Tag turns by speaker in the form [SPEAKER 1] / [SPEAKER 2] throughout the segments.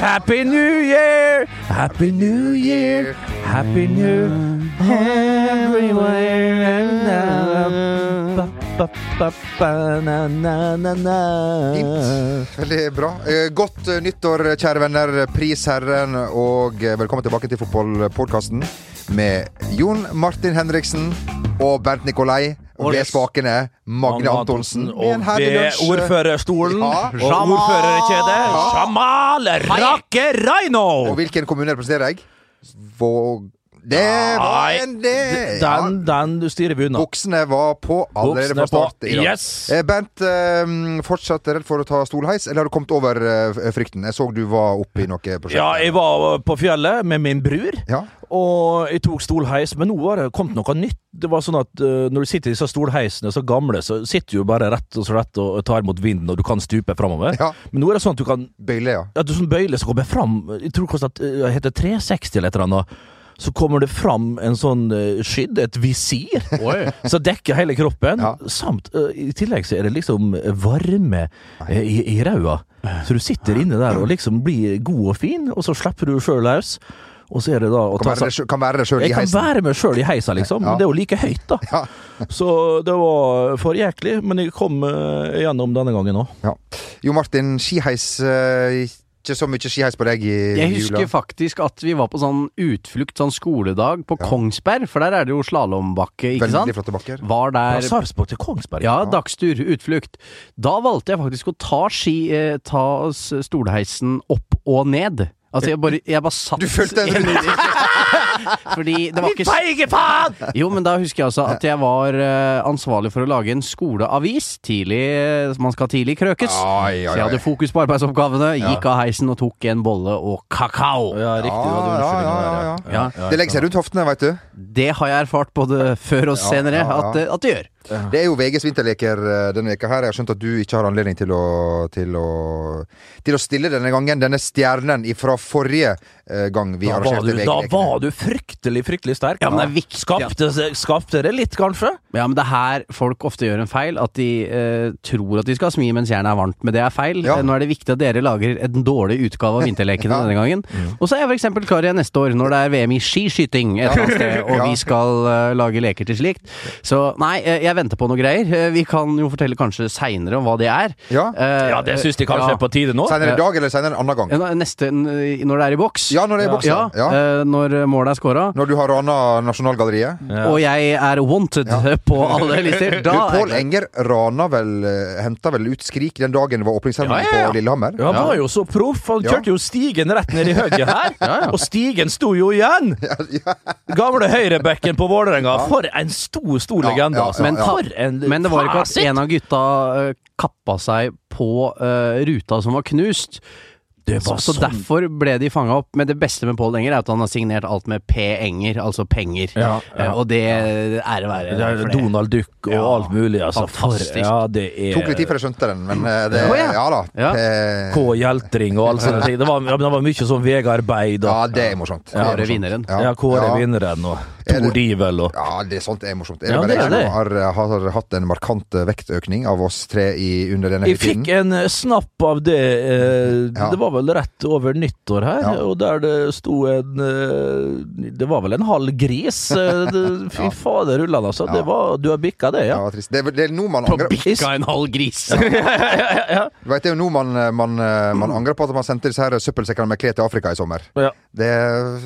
[SPEAKER 1] Happy New Year! Happy New Year! Happy New Everywhere and now. Ba, ba, ba, ba, na, na, na, na.
[SPEAKER 2] Veldig bra. Eh, Godt eh, nyttår, kjære venner. Pris Herren, og eh, velkommen tilbake til fotballpodkasten med Jon Martin Henriksen og Bernt Nikolai. Og
[SPEAKER 1] Og
[SPEAKER 2] ved spakene Magne Antonsen. Med en
[SPEAKER 1] Og
[SPEAKER 2] herlig
[SPEAKER 1] ved
[SPEAKER 2] lunsj.
[SPEAKER 1] ordførerstolen
[SPEAKER 2] Ja.
[SPEAKER 1] og ordførerkjedet. Jamal Rake Reino!
[SPEAKER 2] Og hvilken kommune representerer jeg? Våg... Det var
[SPEAKER 1] Nei,
[SPEAKER 2] en det! Ja.
[SPEAKER 1] Den, den du styrer vi unna.
[SPEAKER 2] Buksene var på allerede
[SPEAKER 1] Buksene
[SPEAKER 2] fra start.
[SPEAKER 1] på.
[SPEAKER 2] i dag.
[SPEAKER 1] Yes.
[SPEAKER 2] Eh, Bernt, eh, fortsatt redd for å ta stolheis, eller har du kommet over eh, frykten? Jeg så du var oppe i noe prosjekt.
[SPEAKER 1] Ja, jeg var på fjellet med min bror.
[SPEAKER 2] Ja.
[SPEAKER 1] Og jeg tok stolheis, men nå var det kommet noe nytt. Det var sånn at eh, Når du sitter i disse stolheisene, så gamle, så sitter du jo bare rett og slett og tar imot vinden, og du kan stupe framover.
[SPEAKER 2] Ja.
[SPEAKER 1] Men nå er det sånn at du kan
[SPEAKER 2] Bøyle, ja.
[SPEAKER 1] At du sånn bøyle som kommer fram Jeg tror kanskje at eh, det heter 360 eller et eller annet. Så kommer det fram en sånn eh, skydd, et visir, som dekker hele kroppen.
[SPEAKER 2] Ja.
[SPEAKER 1] Samt eh, I tillegg så er det liksom varme eh, i, i ræva. Så du sitter inne der og liksom blir god og fin, og så slipper du sjøl løs. Og så er det da å ta
[SPEAKER 2] Kan være
[SPEAKER 1] seg
[SPEAKER 2] det sjøl- Kan være det sjøl i
[SPEAKER 1] jeg kan
[SPEAKER 2] heisen.
[SPEAKER 1] være med sjøl i heisa, liksom.
[SPEAKER 2] Ja.
[SPEAKER 1] Men det er jo like høyt, da.
[SPEAKER 2] Ja.
[SPEAKER 1] Så det var for jæklig. Men jeg kom eh, gjennom denne gangen òg.
[SPEAKER 2] Ja. Jo Martin, skiheis eh, Ikke så mye skiheis på deg i
[SPEAKER 3] Jeg husker
[SPEAKER 2] jula.
[SPEAKER 3] faktisk at vi var på sånn utflukt, sånn skoledag, på
[SPEAKER 2] Ja.
[SPEAKER 3] Kongsberg, for der er det jo slalåmbakke, ikke
[SPEAKER 2] Veldig sånn.
[SPEAKER 3] sant?
[SPEAKER 2] flotte bakker.
[SPEAKER 3] Var
[SPEAKER 1] Fra
[SPEAKER 3] der
[SPEAKER 1] Sarpsborg til Kongsberg.
[SPEAKER 3] Ja, dagstur, utflukt. Da valgte jeg faktisk å ta ski, eh, ta s- stolheisen opp og ned. Altså, jeg bare, jeg bare satt
[SPEAKER 2] Du følte en
[SPEAKER 3] Fordi det var ikke s-
[SPEAKER 1] feige faen!
[SPEAKER 3] Jo, men da husker jeg altså at jeg var eh, ansvarlig for å lage en skoleavis. Tidlig eh, Man skal tidlig
[SPEAKER 2] Ai,
[SPEAKER 3] krøkes. Så
[SPEAKER 2] ai,
[SPEAKER 3] jeg
[SPEAKER 2] ai.
[SPEAKER 3] hadde fokus på arbeidsoppgavene, gikk av heisen og tok en bolle og kakao.
[SPEAKER 1] Ja, riktig. det var den
[SPEAKER 2] Ja,
[SPEAKER 1] unnskyldningen
[SPEAKER 2] ja,
[SPEAKER 1] der,
[SPEAKER 2] ja,
[SPEAKER 3] ja. Ja,
[SPEAKER 2] Det legger seg rundt hoftene, veit du.
[SPEAKER 3] Det har jeg erfart både før og senere
[SPEAKER 2] ja, ja.
[SPEAKER 3] At, det- at det gjør.
[SPEAKER 2] Det er jo VGs vinterleker eh, denne veka her. Jeg har skjønt at du ikke har anledning til å, til å, til å stille denne gangen. Denne stjernen fra forrige eh, gang vi
[SPEAKER 1] Da var, du,
[SPEAKER 2] arrangerte
[SPEAKER 1] da
[SPEAKER 2] VG-lekene.
[SPEAKER 1] var du fryktelig, fryktelig sterk.
[SPEAKER 3] Ja, men det er viktig, ja.
[SPEAKER 1] Skapte, skapte det litt, kanskje?
[SPEAKER 3] Ja, men det er her folk ofte gjør en feil. At de eh, tror at de skal smi mens jernet er varmt, men det er feil.
[SPEAKER 2] Ja.
[SPEAKER 3] Eh, Nå er det viktig at dere lager en dårlig utgave av
[SPEAKER 2] Ja.
[SPEAKER 3] Vinterlekene denne gangen.
[SPEAKER 1] Mm.
[SPEAKER 3] Og så er jeg for eksempel klar igjen neste år, når det er VM i skiskyting et eller annet sted, og
[SPEAKER 2] Ja.
[SPEAKER 3] vi skal eh, lage leker til slikt. Så nei, eh, jeg venter på noe greier. Eh, vi kan jo fortelle kanskje seinere om hva det er.
[SPEAKER 2] Ja.
[SPEAKER 3] Eh,
[SPEAKER 1] Ja, det syns de kanskje
[SPEAKER 3] ja.
[SPEAKER 1] er på tide nå.
[SPEAKER 2] Senere i dag eller senere en annen gang?
[SPEAKER 3] Ja, Neste, når det er i boks.
[SPEAKER 2] Ja, når det er i
[SPEAKER 3] Ja,
[SPEAKER 2] boksen. Ja.
[SPEAKER 3] eh, når målet er scora.
[SPEAKER 2] Når du har rana Nasjonalgalleriet.
[SPEAKER 1] Ja.
[SPEAKER 3] og jeg er wanted på alle lister.
[SPEAKER 2] Du,
[SPEAKER 3] Da
[SPEAKER 2] Pål
[SPEAKER 3] er
[SPEAKER 2] Enger rana vel Henta vel ut Skrik den dagen det var åpningsseremoni
[SPEAKER 3] Ja, ja, ja.
[SPEAKER 2] på Lillehammer?
[SPEAKER 1] Ja, han var jo så proff. Han
[SPEAKER 2] Ja.
[SPEAKER 1] kjørte jo stigen rett ned i høyre her. Og stigen sto jo igjen! Gamle høyrebekken på Vålerenga. For en stor, stor
[SPEAKER 2] Ja,
[SPEAKER 1] legende,
[SPEAKER 2] ja, ja,
[SPEAKER 1] altså.
[SPEAKER 3] Men ta-
[SPEAKER 1] for en
[SPEAKER 3] men det var ikke at
[SPEAKER 1] fasit!
[SPEAKER 3] en av gutta eh, kappa seg på eh, ruta som var knust.
[SPEAKER 1] Det
[SPEAKER 3] Så,
[SPEAKER 1] var
[SPEAKER 3] så
[SPEAKER 1] sånn
[SPEAKER 3] derfor ble de fanga opp. Men det beste med Pål Enger er at han har signert alt med P. Enger, altså penger.
[SPEAKER 1] Ja, ja.
[SPEAKER 3] Eh, og det ære være
[SPEAKER 1] Det er
[SPEAKER 3] for det.
[SPEAKER 1] Donald Duck og
[SPEAKER 3] Ja,
[SPEAKER 1] alt mulig, altså. For,
[SPEAKER 3] fantastisk.
[SPEAKER 1] ja, det er
[SPEAKER 2] Tok litt tid før jeg skjønte den, men eh, det,
[SPEAKER 3] Å,
[SPEAKER 2] ja.
[SPEAKER 3] ja.
[SPEAKER 2] da.
[SPEAKER 3] Ja.
[SPEAKER 2] Eh,
[SPEAKER 1] K. Hjeltring og alle sånne ting. Det var, ja, men det var mye sånn Vegard Beid
[SPEAKER 2] ja,
[SPEAKER 1] og
[SPEAKER 2] det er morsomt. Det er
[SPEAKER 3] Kåre
[SPEAKER 2] morsomt.
[SPEAKER 3] vinneren.
[SPEAKER 1] Ja, Kåre
[SPEAKER 2] Ja.
[SPEAKER 1] Vinneren og
[SPEAKER 2] Er det-
[SPEAKER 1] Tor Divel og
[SPEAKER 2] Ja, det er sånt er morsomt. Er
[SPEAKER 1] Ja, det
[SPEAKER 2] det bare
[SPEAKER 1] er
[SPEAKER 2] jeg
[SPEAKER 1] det.
[SPEAKER 2] som har, eh, har hatt en markant vektøkning av oss tre i, under denne
[SPEAKER 1] Jeg fikk en eh, snapp av det eh,
[SPEAKER 2] Ja.
[SPEAKER 1] Det var vel rett over nyttår her,
[SPEAKER 2] Ja.
[SPEAKER 1] og der det sto en eh, Det var vel en halv gris. eh, det- Fy
[SPEAKER 2] Ja.
[SPEAKER 1] fader, Ulland, altså. Det
[SPEAKER 2] Ja.
[SPEAKER 1] var, du har bikka det,
[SPEAKER 2] Ja,
[SPEAKER 1] ja?
[SPEAKER 2] trist. Det, er- det er nå man
[SPEAKER 3] På
[SPEAKER 2] angrer
[SPEAKER 3] bikka en halv gris!
[SPEAKER 2] Du vet, det er jo nå man, eh, man, man angrer på at man sendte disse her søppelsekkene med klær til Afrika i sommer.
[SPEAKER 1] Ja.
[SPEAKER 2] Det,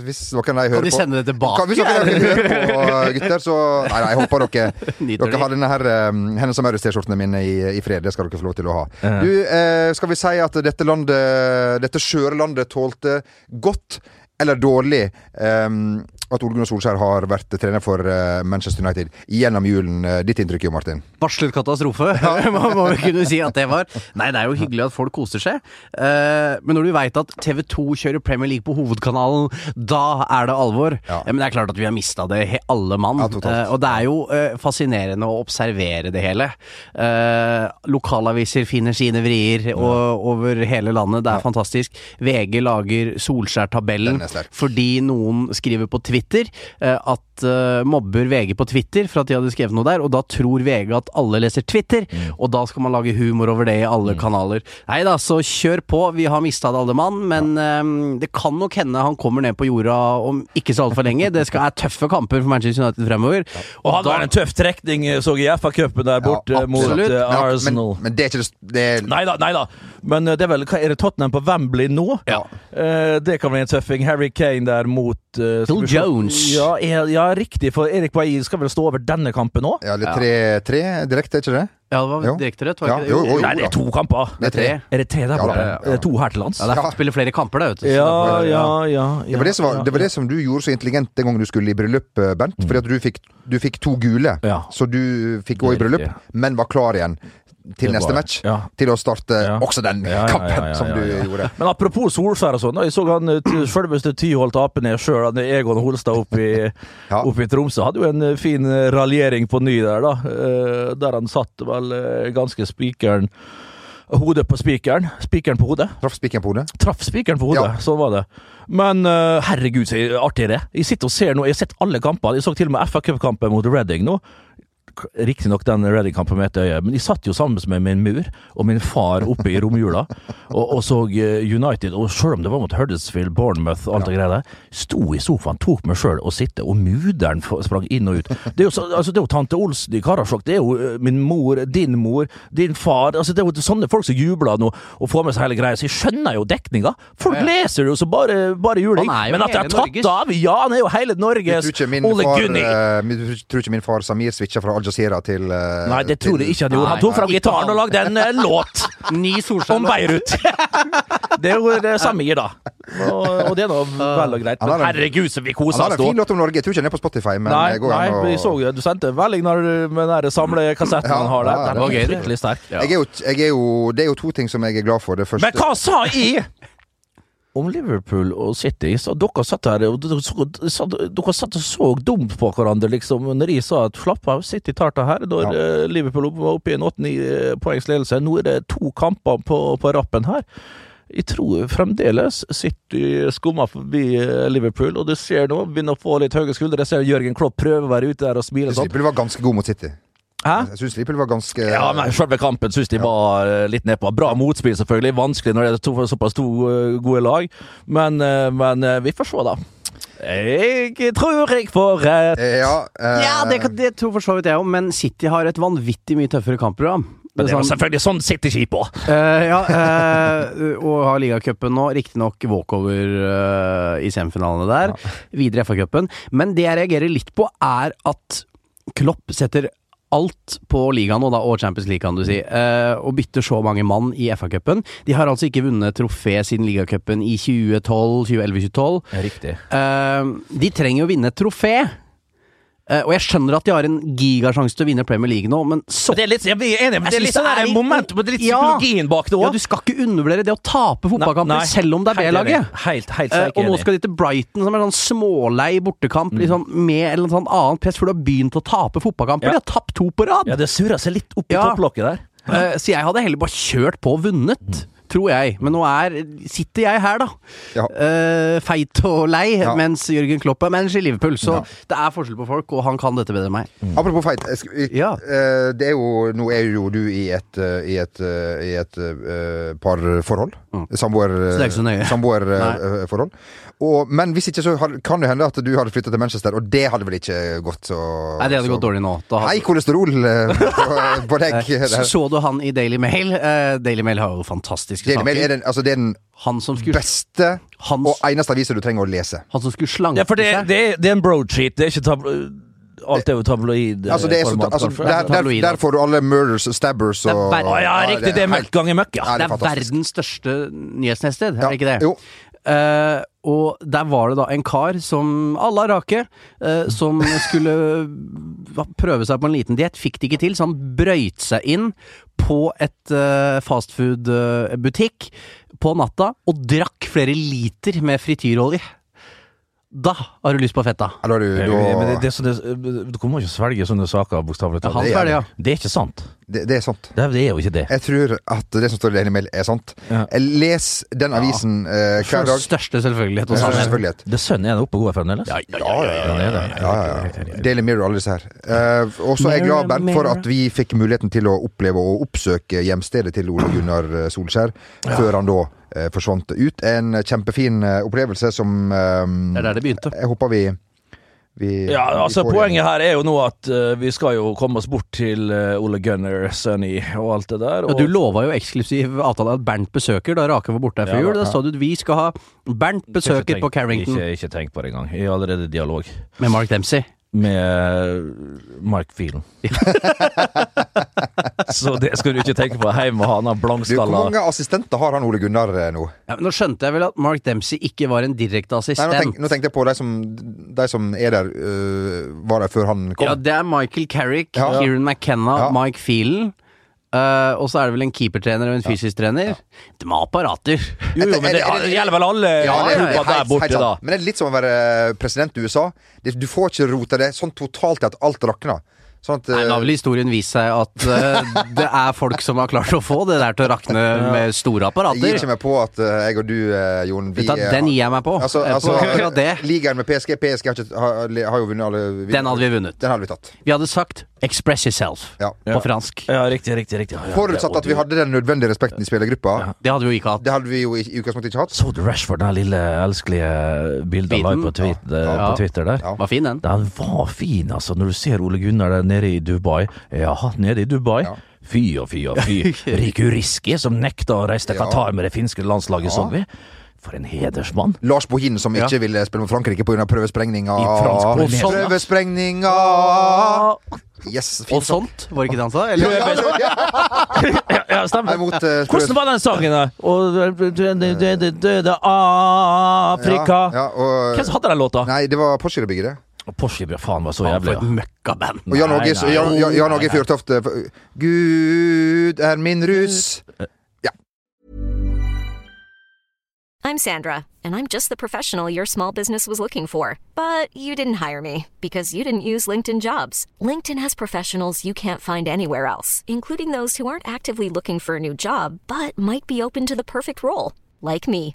[SPEAKER 2] hvis noen av de hører
[SPEAKER 3] Kan de
[SPEAKER 2] på
[SPEAKER 3] sende det tilbake?
[SPEAKER 2] Kan, hvis noen av de hører på, eh, gutter, så Nei, nei jeg håper dere,
[SPEAKER 3] Nyter
[SPEAKER 2] dere
[SPEAKER 3] de.
[SPEAKER 2] har denne her um, Hennes og Maurits-T-skjortene mine i, i fred. Det skal dere få lov til å ha. Du, eh, skal vi si at dette landet, dette skjøre landet, tålte godt eller dårlig em, at Ole Gunnar Solskjær har vært trener for eh, Manchester United gjennom julen. Eh, Ditt inntrykk, Jo Martin?
[SPEAKER 3] Varslet katastrofe, må må vi kunne si at det var. Nei, det er jo hyggelig at folk koser seg, Eh, men når du veit at TV2 kjører Premier League på hovedkanalen, da er det alvor.
[SPEAKER 2] Ja.
[SPEAKER 3] Eh, Men det er klart at vi har mista det, he- alle mann.
[SPEAKER 2] Ja, totalt.
[SPEAKER 3] Eh, og det er jo eh, fascinerende å observere det hele. Eh, lokalaviser finner sine vrier og, over hele landet, det er fantastisk. VG lager
[SPEAKER 2] Den er
[SPEAKER 3] Solskjær-tabellen
[SPEAKER 2] sterk.
[SPEAKER 3] fordi noen skriver på Twitter eh, at eh, mobber VG på Twitter for at de hadde skrevet noe der, og da tror VG at alle leser Twitter,
[SPEAKER 2] Mm.
[SPEAKER 3] og da skal man lage humor over det i alle kanaler. Nei da, så kjør på. Vi har mista alle mann, men eh, det kan nok hende han kommer ned på jorda om ikke så altfor lenge. Det skal er tøffe kamper for Manchester United fremover.
[SPEAKER 1] Og han var en tøff trekning, eh, så jeg i FA-cupen der borte eh, mot
[SPEAKER 2] absolutt.
[SPEAKER 1] eh,
[SPEAKER 2] Ja,
[SPEAKER 1] Arsenal.
[SPEAKER 2] Men, men det er ikke det, det er,
[SPEAKER 1] Nei da, nei da. Men eh, det er vel hva, Er det Tottenham på Wembley nå?
[SPEAKER 3] Ja.
[SPEAKER 1] Eh, det kan bli en tøffing. Harry Kane der mot eh, skal
[SPEAKER 3] Phil
[SPEAKER 1] vi se-
[SPEAKER 3] Jones.
[SPEAKER 1] Ja, er, ja, riktig, for Erik Bailly skal vel stå over denne kampen òg?
[SPEAKER 2] ja, eller tre, tre direkte, er ikke det?
[SPEAKER 3] Ja, det
[SPEAKER 2] Jo.
[SPEAKER 3] var direkte rødt,
[SPEAKER 2] Ja,
[SPEAKER 3] var ikke det?
[SPEAKER 2] jo, jo, jo.
[SPEAKER 1] Nei, det er to kamper.
[SPEAKER 2] Det er tre.
[SPEAKER 1] Er det tre der
[SPEAKER 2] Ja,
[SPEAKER 1] borte?
[SPEAKER 2] ja, ja.
[SPEAKER 1] Er det to her til lands?
[SPEAKER 3] Ja, det er
[SPEAKER 2] Ja.
[SPEAKER 3] for å spille flere kamper, da, vet du. Så
[SPEAKER 1] Ja,
[SPEAKER 3] derfor-
[SPEAKER 1] ja, ja.
[SPEAKER 2] Det var det, som var,
[SPEAKER 1] ja, Mm.
[SPEAKER 2] det var det som du gjorde så intelligent den gangen du skulle i bryllup, eh, Bent. Fordi at du fikk, du fikk to gule,
[SPEAKER 1] Ja.
[SPEAKER 2] så du fikk gå i
[SPEAKER 1] Det er
[SPEAKER 2] bryllup,
[SPEAKER 1] riktig.
[SPEAKER 2] men var klar igjen til
[SPEAKER 1] Det
[SPEAKER 2] neste
[SPEAKER 1] var-
[SPEAKER 2] match.
[SPEAKER 1] ja.
[SPEAKER 2] Til å starte
[SPEAKER 1] Ja.
[SPEAKER 2] også den
[SPEAKER 1] Ja, ja, ja,
[SPEAKER 2] kampen
[SPEAKER 1] ja,
[SPEAKER 2] som
[SPEAKER 1] ja,
[SPEAKER 2] du
[SPEAKER 1] ja.
[SPEAKER 2] gjorde.
[SPEAKER 1] Men apropos Solskjær og sånn, da, jeg så han eh, til selveste Tyholt ape ned sjøl, han eh, Egon Holstad oppe i,
[SPEAKER 2] Ja.
[SPEAKER 1] oppe i Tromsø. Hadde jo en eh, fin eh, raljering på ny der, da. eh, Der han satt vel eh, ganske spikeren Hodet på spikeren. Spikeren på hodet.
[SPEAKER 2] Traff spikeren på hodet.
[SPEAKER 1] Traff spikeren på hodet,
[SPEAKER 2] Ja.
[SPEAKER 1] sånn var det. Men eh, herregud, så artig det er. Jeg sitter og ser nå, jeg har sett alle kampene. Jeg så til og med FA Cup-kampen mot Reading nå. Riktignok den Reading-kampen med ett øye, men jeg satt jo sammen med min mur og min far oppe i romjula og, og så eh, United. Og selv om det var mot Huddersfield, Bournemouth og alt det greia der, sto i sofaen, tok meg sjøl og sitte, og muderen f- sprang inn og ut. Det er jo, så, altså, det er jo tante Olsen i Karasjok, det er jo eh, min mor, din mor, din far altså, Det er jo sånne folk som jubler nå og får med seg hele greia, så jeg skjønner jo dekninga. Folk
[SPEAKER 3] Ja, ja.
[SPEAKER 1] leser det jo så bare, bare juling.
[SPEAKER 3] Han er jo
[SPEAKER 1] Men at det er
[SPEAKER 3] hele
[SPEAKER 1] tatt
[SPEAKER 3] Norges.
[SPEAKER 1] av! Ja, han er jo hele
[SPEAKER 2] Jeg
[SPEAKER 1] Norges
[SPEAKER 2] tror ikke min
[SPEAKER 1] Ole
[SPEAKER 2] far,
[SPEAKER 1] Gunni!
[SPEAKER 2] eh, men du tror ikke min far Samir switcha fra Al Jazeera til eh,
[SPEAKER 1] Nei, det tror jeg ikke han gjorde. Han
[SPEAKER 3] Nei,
[SPEAKER 1] tok fram
[SPEAKER 3] ikke
[SPEAKER 1] gitaren
[SPEAKER 3] han.
[SPEAKER 1] og lagde en eh, låt
[SPEAKER 3] Ny
[SPEAKER 1] om
[SPEAKER 3] Solskjær.
[SPEAKER 1] Beirut. Det er jo det samme i, da. Og, og det er nå vel og greit.
[SPEAKER 2] Han har
[SPEAKER 1] Men
[SPEAKER 2] en-
[SPEAKER 1] herregud, så vi
[SPEAKER 2] Han
[SPEAKER 1] kosa
[SPEAKER 2] har
[SPEAKER 1] oss
[SPEAKER 2] en fin
[SPEAKER 1] da.
[SPEAKER 2] låt om Norge. Jeg tror ikke den er på Spotify, men
[SPEAKER 1] Nei,
[SPEAKER 2] det går
[SPEAKER 1] nei,
[SPEAKER 2] an å-
[SPEAKER 1] jeg så jo du sendte en melding når du- med den der samlekassetten
[SPEAKER 2] Ja,
[SPEAKER 1] han har
[SPEAKER 2] ja,
[SPEAKER 1] der. Den
[SPEAKER 3] det var
[SPEAKER 1] er
[SPEAKER 3] gøy, det.
[SPEAKER 1] fryktelig sterk.
[SPEAKER 2] Jeg er jo, jeg er jo, det er jo to ting som jeg er glad for. Det første
[SPEAKER 1] Men hva sa jeg?! Om Liverpool og City, så dere satt her og dere, så, satt, dere satt og så dumt på hverandre, liksom, når jeg sa at slapp av, City tar det her, når eh, Liverpool opp- var oppe i en 8-9 poengs ledelse. Nå er det to kamper på, på rappen her. Jeg tror fremdeles City skummer forbi eh, Liverpool, og du ser nå, begynner å få litt høye skuldre. Jeg ser Jørgen Klopp prøve å være ute der og smile og
[SPEAKER 2] Jeg syns
[SPEAKER 1] sånn.
[SPEAKER 2] Liverpool var ganske god mot City.
[SPEAKER 1] Hæ?
[SPEAKER 2] Jeg syns Liverpool var ganske
[SPEAKER 1] Ja, men selve kampen syns de var eh, litt nedpå. Bra motspill, selvfølgelig. Vanskelig når det er to, såpass to eh, gode lag. Men, eh, men eh, vi får se, da. Jeg tror jeg får rett.
[SPEAKER 2] Eh, ja, eh,
[SPEAKER 3] Ja, det, kan- det tror for så vidt jeg òg, men City har et vanvittig mye tøffere kampprogram.
[SPEAKER 1] Men det var
[SPEAKER 3] sånn-
[SPEAKER 1] selvfølgelig sånn sitter skipet òg.
[SPEAKER 3] Eh, ja, eh, og har ligacupen nå. Riktignok walkover eh, i semifinalene der. Videre i FA-cupen. Men det jeg reagerer litt på, er at Klopp setter alt på ligaen nå, da, og Champions League, kan du si, eh, og bytter så mange mann i FA-cupen. De har altså ikke vunnet trofé siden ligacupen i 2012, 2011, 2012.
[SPEAKER 1] Riktig.
[SPEAKER 3] Eh, de trenger jo å vinne et trofé. Eh, og jeg skjønner at de har en gigasjanse til å vinne Premier League nå, men så
[SPEAKER 1] Det er litt, jeg blir enig, men det
[SPEAKER 3] Jeg
[SPEAKER 1] er litt
[SPEAKER 3] synes det
[SPEAKER 1] sånn der
[SPEAKER 3] er litt-
[SPEAKER 1] moment, men det er litt
[SPEAKER 3] Ja.
[SPEAKER 1] psykologien bak det
[SPEAKER 3] ja,
[SPEAKER 1] òg.
[SPEAKER 3] Du skal ikke undervurdere det å tape fotballkamper, selv om det er B-laget.
[SPEAKER 1] Helt, helt
[SPEAKER 3] Eh, og nå
[SPEAKER 1] enig. Mm.
[SPEAKER 3] skal de til Brighton, som er en sånn smålei bortekamp, liksom, med et eller annet annet press, for de har begynt å tape fotballkamper.
[SPEAKER 1] Ja.
[SPEAKER 3] De har tapt to på rad!
[SPEAKER 1] Ja, det surrer seg litt opp i
[SPEAKER 3] Ja.
[SPEAKER 1] topplokket der.
[SPEAKER 3] Eh, så jeg hadde heller bare kjørt på og vunnet.
[SPEAKER 1] Mm.
[SPEAKER 3] Tror jeg. Men nå er, sitter jeg her, da.
[SPEAKER 2] Ja.
[SPEAKER 3] Eh, feit og lei,
[SPEAKER 2] Ja.
[SPEAKER 3] mens Jørgen Klopp er manager i Liverpool. Så det er forskjell på folk, og han kan dette bedre enn meg.
[SPEAKER 2] Apropos feit. Jeg, sk- jeg,
[SPEAKER 3] Ja.
[SPEAKER 2] eh, det er jo, nå er jo du i et, eh, i et, eh, i et eh, parforhold. Samboer, eh,
[SPEAKER 3] det er ikke Mm. så nøye. Nei.
[SPEAKER 2] Samboerforhold. Og, men hvis ikke, så har, kan det hende at du hadde flytta til Manchester, og det hadde vel ikke gått så
[SPEAKER 3] Nei, det hadde
[SPEAKER 2] så-
[SPEAKER 3] gått dårlig nå. Da hadde-
[SPEAKER 2] Hei, kolesterol eh, på, på deg.
[SPEAKER 3] så,
[SPEAKER 2] der.
[SPEAKER 3] så du han i Daily Mail? Eh, Daily Mail har jo fantastiske
[SPEAKER 2] Daily Mail
[SPEAKER 3] saker.
[SPEAKER 2] er den, altså, det er den
[SPEAKER 3] Han som skulle,
[SPEAKER 2] beste
[SPEAKER 3] han,
[SPEAKER 2] og eneste avisa du trenger å lese.
[SPEAKER 3] han som skulle slanke
[SPEAKER 1] Ja, for det,
[SPEAKER 3] seg.
[SPEAKER 1] det, er- det er en broadsheet, det er ikke tablo... Alt er jo tabloid. eh,
[SPEAKER 2] Altså, det er så,
[SPEAKER 1] format,
[SPEAKER 2] altså,
[SPEAKER 1] kanskje.
[SPEAKER 2] der, der, der får du alle murders, stabbers og
[SPEAKER 3] Det er bare-
[SPEAKER 1] Å ja,
[SPEAKER 2] Ja,
[SPEAKER 1] riktig, det er møkk
[SPEAKER 2] helt-
[SPEAKER 1] ganger møkk, ja.
[SPEAKER 2] Ja,
[SPEAKER 3] det er
[SPEAKER 2] fantastisk.
[SPEAKER 3] verdens største nyhetsnested, er
[SPEAKER 2] Ja,
[SPEAKER 3] det ikke det?
[SPEAKER 2] Jo.
[SPEAKER 3] Eh, og der var det da en kar som alle er rake, eh, som skulle prøve seg på en liten diett. Fikk det ikke til, så han brøyt seg inn på et eh, fastfood-butikk på natta og drakk flere liter med frityrolje. Da har du lyst på fetta.
[SPEAKER 2] Ja, da er du,
[SPEAKER 1] Men
[SPEAKER 2] da,
[SPEAKER 1] det, det, er sånn det, du kommer ikke å svelge sånne saker, bokstavelig
[SPEAKER 3] Ja, han
[SPEAKER 1] talt.
[SPEAKER 3] skal det, ja.
[SPEAKER 1] Det er ikke sant.
[SPEAKER 2] Det, det er sant.
[SPEAKER 1] Det, det er jo ikke det.
[SPEAKER 2] Jeg tror at det som står i Daily Mail, er sant.
[SPEAKER 1] Ja.
[SPEAKER 2] Les den avisen eh, hver
[SPEAKER 3] For
[SPEAKER 2] dag.
[SPEAKER 3] største selvfølgelighet.
[SPEAKER 2] Ja,
[SPEAKER 3] hos alle.
[SPEAKER 2] selvfølgelig.
[SPEAKER 1] Det sønnen er oppe og går fremdeles?
[SPEAKER 2] Ja, ja, ja.
[SPEAKER 1] det er det.
[SPEAKER 2] ja, ja. Daily Mirror, alle disse her. Eh, og så er jeg glad Bernt, for at vi fikk muligheten til å oppleve og oppsøke hjemstedet til Ole Gunnar eh, Solskjær, før han da eh, forsvant ut. En kjempefin eh, opplevelse som eh,
[SPEAKER 3] Det er der det begynte.
[SPEAKER 2] Jeg håper vi, vi
[SPEAKER 1] Ja,
[SPEAKER 2] vi
[SPEAKER 1] altså
[SPEAKER 2] får
[SPEAKER 1] Poenget her er jo nå at eh, vi skal jo komme oss bort til eh, Ole Gunnar, Sunny og alt det der.
[SPEAKER 3] Ja,
[SPEAKER 1] Og
[SPEAKER 3] du lova jo eksklusiv avtale at Bernt besøker da Rake var borte her før
[SPEAKER 1] Ja,
[SPEAKER 3] jul. Da
[SPEAKER 1] ja.
[SPEAKER 3] sa du at vi skal ha Bernt besøker
[SPEAKER 1] Ikke tenk-
[SPEAKER 3] på Carrington
[SPEAKER 1] Ikke, ikke tenk på det engang. Jeg er allerede i dialog
[SPEAKER 3] med Mark Dempsey.
[SPEAKER 1] med eh, Mark Phelan. Så det skal du ikke tenke på. Hjemme og han har
[SPEAKER 2] Du, hvor
[SPEAKER 1] blankstalla.
[SPEAKER 2] mange assistenter har han Ole Gunnar eh, nå?
[SPEAKER 3] Ja, men nå skjønte jeg vel at Mark Dempsey ikke var en direkte
[SPEAKER 2] Nei, nå,
[SPEAKER 3] assistent.
[SPEAKER 2] tenk, nå tenkte jeg på de som, de som er der, øh, var der før han kom.
[SPEAKER 3] ja, det er Michael Carrick,
[SPEAKER 2] Ja.
[SPEAKER 3] Kieran McKenna,
[SPEAKER 2] Ja.
[SPEAKER 3] Mike Phelan. eh, og så er det vel en keepertrener og en fysisk trener. De har apparater.
[SPEAKER 1] Jo, jo, men det, det gjelder vel alle
[SPEAKER 2] det er-
[SPEAKER 1] klubber der
[SPEAKER 2] helt- helt
[SPEAKER 1] borte, da.
[SPEAKER 2] sant. Men det er litt som å være øh, president i USA. Det, du får ikke rota det sånn totalt til at alt rakner. Sånn at,
[SPEAKER 3] Nei, Da har
[SPEAKER 2] øh,
[SPEAKER 3] vel historien vist seg at eh, det er folk som har klart å få det der til å rakne med
[SPEAKER 2] jeg
[SPEAKER 3] store
[SPEAKER 2] gir
[SPEAKER 3] apparater.
[SPEAKER 2] ikke meg på at øh, jeg og du, øh, Jon vi,
[SPEAKER 3] Vet du hva,
[SPEAKER 2] er-
[SPEAKER 3] Den gir jeg meg på.
[SPEAKER 2] Altså,
[SPEAKER 3] Eh,
[SPEAKER 2] altså
[SPEAKER 3] på akkurat det.
[SPEAKER 2] Ligaen med PSG PSG har, ikke, har, har jo vunnet alle
[SPEAKER 3] Den hadde vi vunnet.
[SPEAKER 2] Den hadde vi tatt.
[SPEAKER 3] Vi hadde sagt 'express yourself'
[SPEAKER 2] Ja.
[SPEAKER 1] Ja.
[SPEAKER 3] på fransk.
[SPEAKER 1] Ja, riktig, riktig. riktig. Ja, ja,
[SPEAKER 2] Forutsatt
[SPEAKER 1] det-
[SPEAKER 2] at vi hadde den nødvendige respekten i spillergruppa.
[SPEAKER 3] Det hadde vi jo ikke hatt.
[SPEAKER 2] Det hadde vi jo i, i utgangspunktet ikke hatt.
[SPEAKER 1] Så du Rashford, den lille elskelige bildet han la ut på, tweet, eh,
[SPEAKER 3] Ja.
[SPEAKER 1] på Twitter der?
[SPEAKER 2] Ja.
[SPEAKER 3] Var fin, den.
[SPEAKER 1] Den var fin, altså. Når du ser Ole Gunnar der nede i Dubai. Ja, nede i Dubai.
[SPEAKER 2] Ja.
[SPEAKER 1] Fy og fy og fy. Riku Riski, som nekta å reise til
[SPEAKER 2] Ja.
[SPEAKER 1] Qatar med det finske landslaget,
[SPEAKER 2] Ja.
[SPEAKER 1] så vi. For en hedersmann.
[SPEAKER 2] Lars Bohin som ikke
[SPEAKER 3] Ja.
[SPEAKER 2] ville spille mot Frankrike pga. prøvesprengninga.
[SPEAKER 1] I fransk polonese.
[SPEAKER 2] Prøvesprengninga! Yes, fin
[SPEAKER 3] Og sånt, var det ikke det han sa? Eller?
[SPEAKER 2] Ja, ja, ja.
[SPEAKER 1] Ja, ja stemmer.
[SPEAKER 2] Nei, mot, eh,
[SPEAKER 1] Hvordan var den sangen, da? Og eh, du- du- du- du- du- du- du- Afrika
[SPEAKER 2] Ja,
[SPEAKER 1] Hvem
[SPEAKER 2] og,
[SPEAKER 1] som hadde den låta?
[SPEAKER 2] nei, det var Porsgrunn-bygget, det.
[SPEAKER 1] Porsche, ja, faen, var så
[SPEAKER 3] Faen,
[SPEAKER 1] jævlig.
[SPEAKER 3] for
[SPEAKER 1] ja.
[SPEAKER 3] et møkkaband.
[SPEAKER 2] Og Jan
[SPEAKER 1] Nei,
[SPEAKER 2] Åge
[SPEAKER 1] nei.
[SPEAKER 2] Jan- Jan- Jan Åge
[SPEAKER 1] Nei, nei.
[SPEAKER 2] Fjørtoft eh, for- Gud er min rus.
[SPEAKER 4] I'm Sandra, and I'm just the professional your small business was looking for. But you didn't hire me because you didn't use LinkedIn jobs. LinkedIn has professionals you can't find anywhere else, including those who aren't actively looking for a new job but might be open to the perfect role, like me.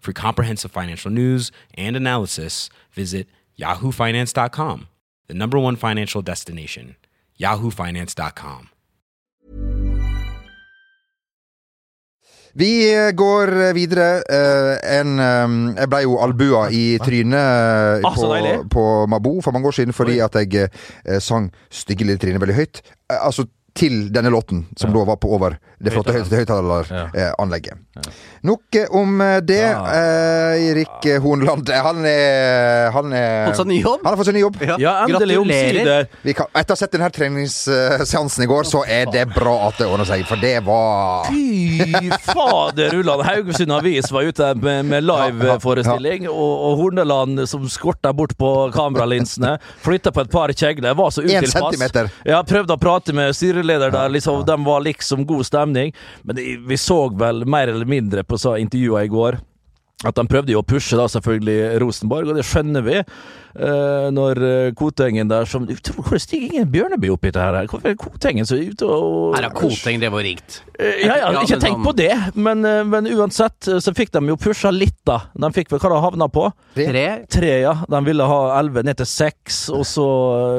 [SPEAKER 5] For comprehensive financial news and analysis, visit yahoofinance.com, the number one financial destination, yahoofinance.com.
[SPEAKER 2] Vi eh, går eh, videre. Eh, En, eh, jeg ble jo albua i trynet eh,
[SPEAKER 1] Ah, så
[SPEAKER 2] på,
[SPEAKER 1] deilig.
[SPEAKER 2] på Mabo for mange år siden fordi
[SPEAKER 1] Oi.
[SPEAKER 2] at jeg eh, sang 'Stygge lille Trine' veldig høyt. Eh, Altså til denne låten, som da var på over det flotte høy- høyttaleranlegget. Nok om eh, det. Eh, Erik Hornland, eh, han er Han er
[SPEAKER 3] Fått seg ny jobb?
[SPEAKER 2] Han har fått seg ny jobb.
[SPEAKER 1] Ja, endelig omsider.
[SPEAKER 2] Vi kan, etter å ha sett denne her treningsseansen i går, så er det bra at det ordner seg, for det var
[SPEAKER 1] Fy fader, Ulland. Haugesund Avis var ute med, med liveforestilling, og, og Horneland som skorta bort på kameralinsene. Flytta på et par kjegler. Var så
[SPEAKER 2] En
[SPEAKER 1] utilpass.
[SPEAKER 2] centimeter.
[SPEAKER 1] Ja, prøvde å prate med styreleder der, liksom, de var liksom god stemning. Men de- vi så vel mer eller mindre på så intervjua i går. At de prøvde jo å pushe da selvfølgelig Rosenborg, og det skjønner vi. eh, når eh, Kotengen der som Hvor stiger ingen Bjørneby opp i det her? Hvorfor er Kotengen så ute og
[SPEAKER 3] Her har Koteng drevet og ringt.
[SPEAKER 1] Eh, Ja, ja,
[SPEAKER 3] Ja,
[SPEAKER 1] ikke
[SPEAKER 3] men
[SPEAKER 1] tenk
[SPEAKER 3] han-
[SPEAKER 2] sånn.
[SPEAKER 1] på det, men, eh, men uansett eh, så fikk de jo pusha litt, da. De fikk vel hva de havna på?
[SPEAKER 3] Tre?
[SPEAKER 2] Eh.
[SPEAKER 1] Tre, ja. De ville ha elleve ned til seks, og så